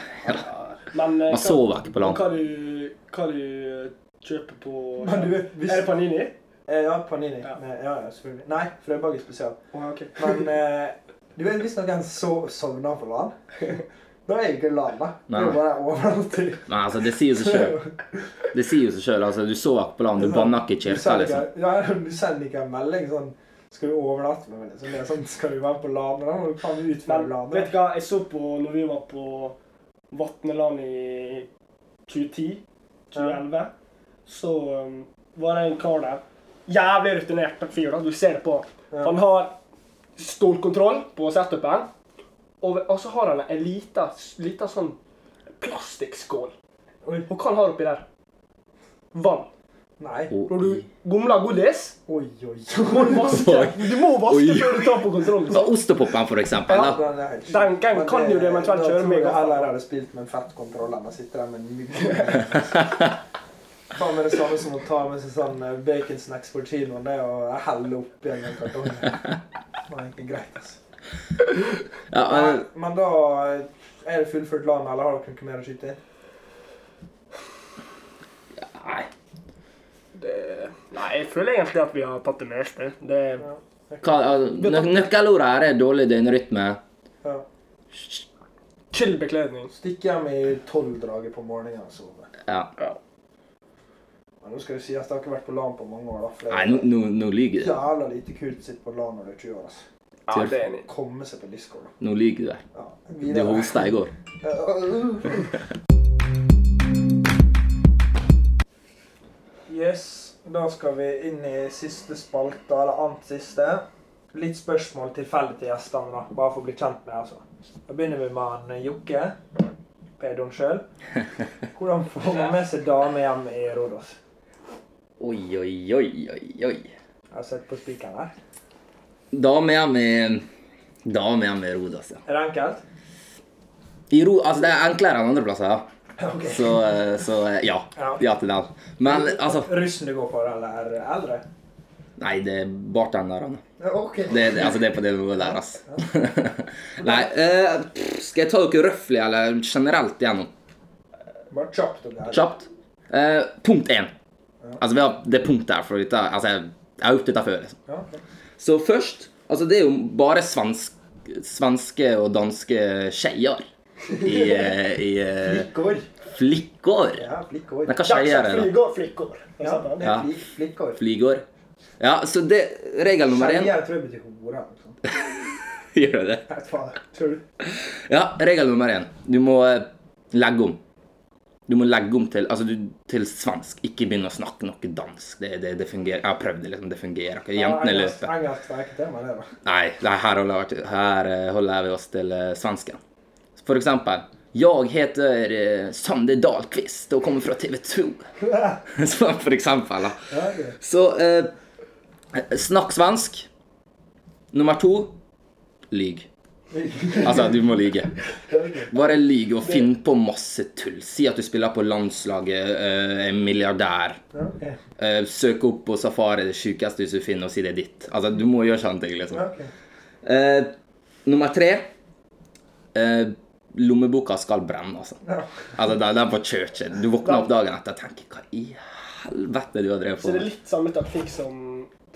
Speaker 2: Men eh,
Speaker 3: Man sover ikke på land.
Speaker 2: Hva du, hva du eh, kjøper på
Speaker 1: Men du vet, hvis-
Speaker 2: Er det Panini?
Speaker 1: Eh, Ja, Panini.
Speaker 2: Ja.
Speaker 1: Ja, ja, ja selvfølgelig. Nei, Frøbage spesial.
Speaker 2: Å, ja, ok.
Speaker 1: Men eh, du vet hvis noen so sovner på LAN <laughs> Da er jeg ikke LAN, da. Det
Speaker 3: Nei.
Speaker 1: er bare overalt. i-
Speaker 3: Nei, altså, det sier jo seg sjøl. Det sier jo seg sjøl. Altså, du sover ikke på land, du banner ikke i
Speaker 1: Du
Speaker 3: kirka,
Speaker 1: sender
Speaker 3: liksom.
Speaker 1: ikke- <laughs> Ja, du sender ikke en melding sånn Skal du overnatte med meg? Liksom. Det er sånn, skal du være på LAN? Da må du faen meg ut fra
Speaker 2: Men
Speaker 1: LAN.
Speaker 2: vet du hva, jeg så på når vi var på Vatneland i 2010-2011, så um, var det en kar der. Jævlig rutinert fyr, da. Du ser det på han.
Speaker 1: Ja.
Speaker 2: Han har stålkontroll på setupen, og, og så har han en lita, lita sånn plastikkskål.
Speaker 1: Oi.
Speaker 2: Og hva han har oppi der? Vann.
Speaker 1: Nei.
Speaker 2: Når
Speaker 3: Og,
Speaker 2: du gomler godis,
Speaker 1: Oi, oi,
Speaker 2: må
Speaker 1: oi. <laughs>
Speaker 2: du vaske. Du må vaske før du tar på kontrollen.
Speaker 3: så ostepopen, for eksempel. Da.
Speaker 1: Den, er helt sjuk.
Speaker 2: Den- den
Speaker 1: Men
Speaker 2: kan jo du eventuelt kjøre med i
Speaker 1: Da tror jeg
Speaker 2: gaffa.
Speaker 1: heller jeg hadde spilt med en fett kontroll enn å sitte der med en mygg. <laughs> Faen meg det samme som å ta med seg sånn eh, bacon snacks på kinoen. Det er å helle opp igjen en kartong.
Speaker 3: <laughs>
Speaker 1: Det var egentlig greit, altså.
Speaker 3: Ja,
Speaker 1: Men,
Speaker 3: men,
Speaker 1: men da eh, er det fullført LAN, eller har dere noe mer å skyte inn?
Speaker 3: nei.
Speaker 2: Det, nei, jeg føler egentlig at vi har tatt det meste. Det,
Speaker 3: Hva, altså, nø- nøkkelordet her er dårlig døgnrytme.
Speaker 1: Ja.
Speaker 2: chill bekledning.
Speaker 1: Stikk hjem i tolvdraget på morgenen altså. og sove.
Speaker 3: Ja.
Speaker 2: Ja.
Speaker 1: Men nå skal det sies at jeg har ikke vært på LAN på mange år. da. For
Speaker 3: Nei,
Speaker 1: det
Speaker 3: nå, nå, nå lyver
Speaker 1: er
Speaker 3: du.
Speaker 1: jævla lite kult å sitte på LAN når du er 20 år. altså.
Speaker 2: ja det er enig.
Speaker 1: Komme seg på disko. da.
Speaker 3: Nå lyver du der.
Speaker 1: Ja,
Speaker 3: Du
Speaker 1: videre.
Speaker 3: hosta i går.
Speaker 1: Yes, da skal vi inn i siste spalte, eller annet siste. Litt spørsmål tilfeldig til gjestene, da, bare for å bli kjent med altså. Da begynner vi med han eh, Jokke, pedoen sjøl. Hvordan får man med seg dame hjem i Rodos?
Speaker 3: Oi, oi, oi, oi, oi.
Speaker 1: Jeg har sett på spikeren her.
Speaker 3: Dame hjem i Dame hjem i Rodas, ja.
Speaker 1: Er det enkelt?
Speaker 3: I ro, altså, det er enklere enn andre plasser, ja.
Speaker 1: <laughs> Ok.
Speaker 3: Så, eh, så eh, ja.
Speaker 1: Ja.
Speaker 3: Ja til den. Men altså
Speaker 1: Russen du går for, eller eldre?
Speaker 3: Nei, det er bartenderne.
Speaker 1: Ja, Ok.
Speaker 3: Det, det, altså, det er på det nivået der, altså. <laughs> nei, eh, pff, skal jeg ta dere røffelig eller generelt gjennom?
Speaker 1: Bare kjapt om det her.
Speaker 3: Kjapt. Eh, punkt én. Altså, vi har det punktet her, for dette, altså, jeg, jeg har gjort dette før. liksom.
Speaker 1: Ja, ok.
Speaker 3: Så først Altså, det er jo bare svensk,
Speaker 1: <laughs>
Speaker 3: svenske og danske skeier i, eh, i eh,
Speaker 1: Går.
Speaker 3: Flikkor.
Speaker 1: Ja, flikkor.
Speaker 3: Men hva
Speaker 2: Dags
Speaker 3: skjer
Speaker 2: att
Speaker 3: her, da?
Speaker 2: flyga flickor.
Speaker 1: Ja,
Speaker 2: Ja.
Speaker 1: det
Speaker 3: Ja.
Speaker 1: er flik, flikkor.
Speaker 3: Flygor. Ja, så det Regel nummer én
Speaker 1: Skeier tror jeg betyr hore. Liksom.
Speaker 3: <laughs> Gjør det?
Speaker 1: Nei, faen, tror du?
Speaker 3: Ja, regel nummer én. Du må eh, legge om. Du må legge om til, altså, du, til svensk. Ikke begynne å snakke noe dansk. Det, det, det fungerer. Jeg har prøvd det, liksom. Det fungerer ikke. Jentene
Speaker 1: Ja, engelsk-
Speaker 3: løper.
Speaker 1: Engelsk er ikke tema, det, da.
Speaker 3: Nei, nei her, holder, her eh, holder vi oss til eh, svensken. For eksempel. Jeg heter eh, Sander Dahlqvist og kommer fra TV 2.
Speaker 1: <laughs>
Speaker 3: <laughs> For eksempel. Da.
Speaker 1: Ja, det.
Speaker 3: Så eh, snakk svensk. Nummer to lyg. Altså, du må lyge. Bare lyg og finn på masse tull. Si at du spiller på landslaget, eh, er milliardær.
Speaker 1: Ja, ok.
Speaker 3: Eh, søk opp på safari det sjukeste huset du finner, og si det er ditt. Altså, du må gjøre sånne ting, liksom.
Speaker 1: Ja, ok.
Speaker 3: Eh, nummer tre eh, Lommeboka skal brenne, altså.
Speaker 1: Ja.
Speaker 3: Altså, den, den på churchen. Du våkner opp dagen etter og tenker Hva i helvete du har drevet
Speaker 2: Så
Speaker 3: på
Speaker 2: det er
Speaker 3: med?
Speaker 2: litt samme taktikk som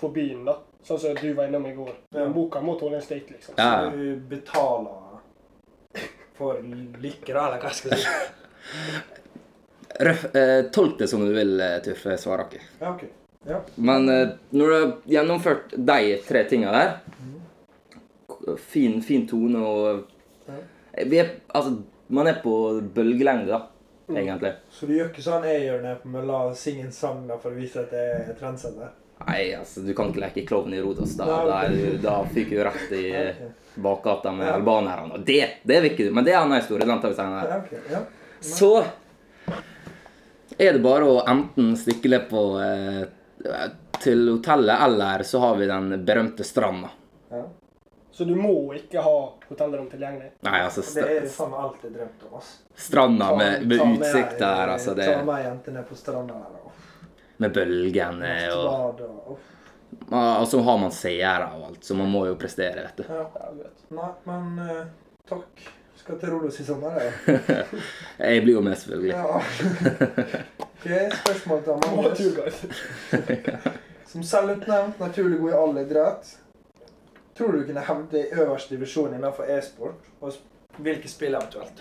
Speaker 2: på byen, da. Sånn som du var innom i går.
Speaker 1: Ja.
Speaker 2: Boka må tåle en steak, liksom.
Speaker 3: Ja.
Speaker 1: Så du betaler for lykke, da, eller hva skal jeg si?
Speaker 3: Røff, eh, tolk det som du vil, eh, Tuffe Svaraker.
Speaker 1: Ja, ok. Ja.
Speaker 3: Men eh, når du har gjennomført de tre tinga der k- Fin, fin tone og vi er, Altså, man er på bølgelengde, da,
Speaker 1: Mm.
Speaker 3: egentlig.
Speaker 1: Så du gjør ikke sånn jeg gjør nede på mølla og synger en sang da, for å vise at jeg er trendsetter?
Speaker 3: Nei, altså, du kan ikke leke klovn i Rodos. Da, da,
Speaker 1: Nei,
Speaker 3: er
Speaker 1: ok.
Speaker 3: du- da fyker du rett i eh,
Speaker 1: <laughs> Ok.
Speaker 3: bakgata med
Speaker 1: Ja.
Speaker 3: albanerne. Og det, det vil ikke du. Men det er en annen historie. Den tar vi senere.
Speaker 1: Ja, ok. Ja.
Speaker 3: Så er det bare å enten stikle på eh, til hotellet, eller så har vi den berømte stranda.
Speaker 1: Ja.
Speaker 2: Så du må ikke ha hotellrom tilgjengelig.
Speaker 3: Nei, altså st
Speaker 1: Det er faen meg alt jeg drømte om. ass.
Speaker 3: stranda
Speaker 1: Ta-
Speaker 3: med, med
Speaker 1: ta med-
Speaker 3: utsikt der, altså. Det,
Speaker 1: Ta med jentene på stranda der og
Speaker 3: med bølgene og
Speaker 1: bad og og-
Speaker 3: Ja, Og så har man seere og alt, så man må jo prestere, vet du.
Speaker 1: Ja.
Speaker 2: Ja, du vet.
Speaker 1: Nei, men eh, takk. Skal til Rodos i sommer,
Speaker 3: <laughs>
Speaker 1: jeg.
Speaker 3: Jeg blir jo med, selvfølgelig.
Speaker 1: Ja. <laughs> Ok, spørsmål til
Speaker 2: Du må ha
Speaker 1: Magnus.
Speaker 2: turguide.
Speaker 1: Som selvutnevnt naturlig god i all idrett, tror du du kunne hevde i øverste divisjon innenfor e-sport? Og sp- hvilke spill eventuelt?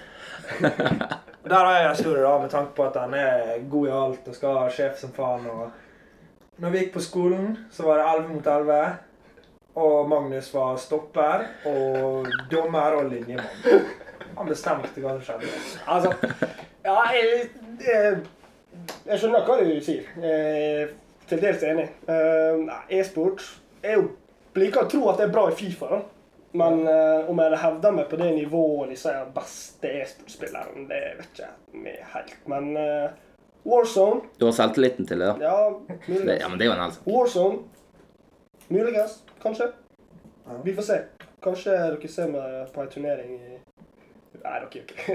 Speaker 1: Der har jeg en historie da, med tanke på at han er god i alt og skal ha sjef som faen. og... Når vi gikk på skolen, så var det 11 mot 11. Og Magnus var stopper og dommer og linjemann. Han bestemte hva som skjedde.
Speaker 2: Altså, ja, jeg, jeg, jeg skjønner hva du sier. Jeg er til dels enig. Eh, nei, E-sport Jeg jo liker å tro at jeg er bra i Fifa, da. Men eh, om jeg hevder meg på det nivået liksom, jeg er beste e-sportspilleren, det vet ikke jeg meg helt. Men eh, Warzone
Speaker 3: Du har selvtilliten til det, da.
Speaker 2: Ja,
Speaker 3: Det,
Speaker 2: muligens.
Speaker 3: ja, men det er jo en helse.
Speaker 2: Warzone. Muligens. Kanskje.
Speaker 1: Ja.
Speaker 2: Vi får se. Kanskje dere ser meg på ei turnering i Nei, dere gjør ikke det.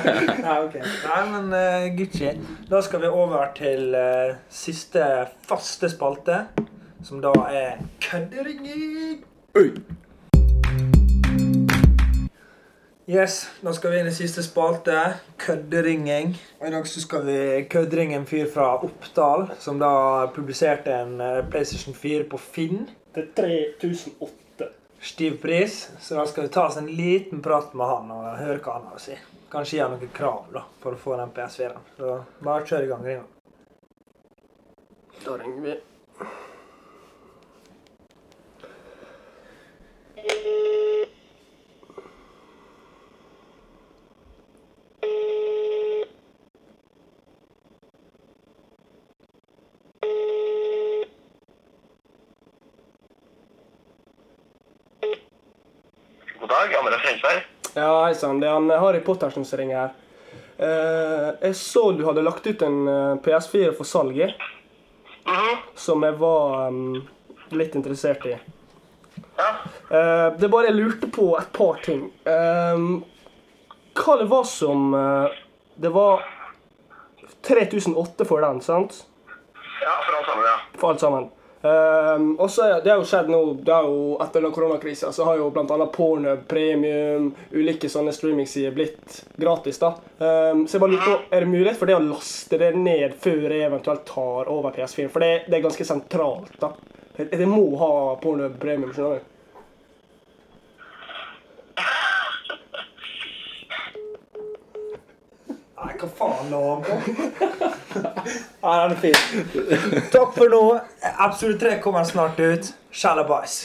Speaker 2: <laughs>
Speaker 1: Nei, ok. Nei, men eh, Gucci. Da skal vi over til eh, siste faste spalte, som da er kødderinger.
Speaker 3: Oi!
Speaker 1: Yes, da skal vi inn i siste spalte, kødderinging. Og I dag så skal vi kødderinge en fyr fra Oppdal, som da publiserte en eh, PlayStation 4 på Finn.
Speaker 2: Til 3008.
Speaker 1: Stiv pris. Så da skal vi ta oss en liten prat med han og høre hva han har å si. Kanskje gi han noen krav da, for å få den PS4-en. Så bare kjør i gang. Ringan.
Speaker 2: Da ringer vi.
Speaker 4: God dag, Andreas Rensberg.
Speaker 2: Ja, hei sann. Det er han Harry Pottersen som ringer her. Eh, jeg så du hadde lagt ut en eh, PS4 for salget, som jeg var mm, litt interessert i.
Speaker 4: Ja.
Speaker 2: Eh, det er bare jeg lurte på et par ting. Eh, hva det var som eh, Det var 3008 for den, sant?
Speaker 4: ja, for alt sammen, ja.
Speaker 2: For alt sammen. Um, og så er- det har jo skjedd nå, det har jo etter den koronakrisen, så har jo bl.a. Pornhub, Premium, ulike sånne streamingsider blitt gratis, da. Um, så jeg bare lurer på, er det mulighet for det å laste det ned før jeg eventuelt tar over PS4? For det, det er ganske sentralt, da. Jeg, jeg må ha Pornhub Premium, skjønner du.
Speaker 1: Nei,
Speaker 5: Hva faen la han på?
Speaker 1: <laughs>
Speaker 5: ja, den er fin. Takk for nå. Episode tre kommer snart ut. Shalabais.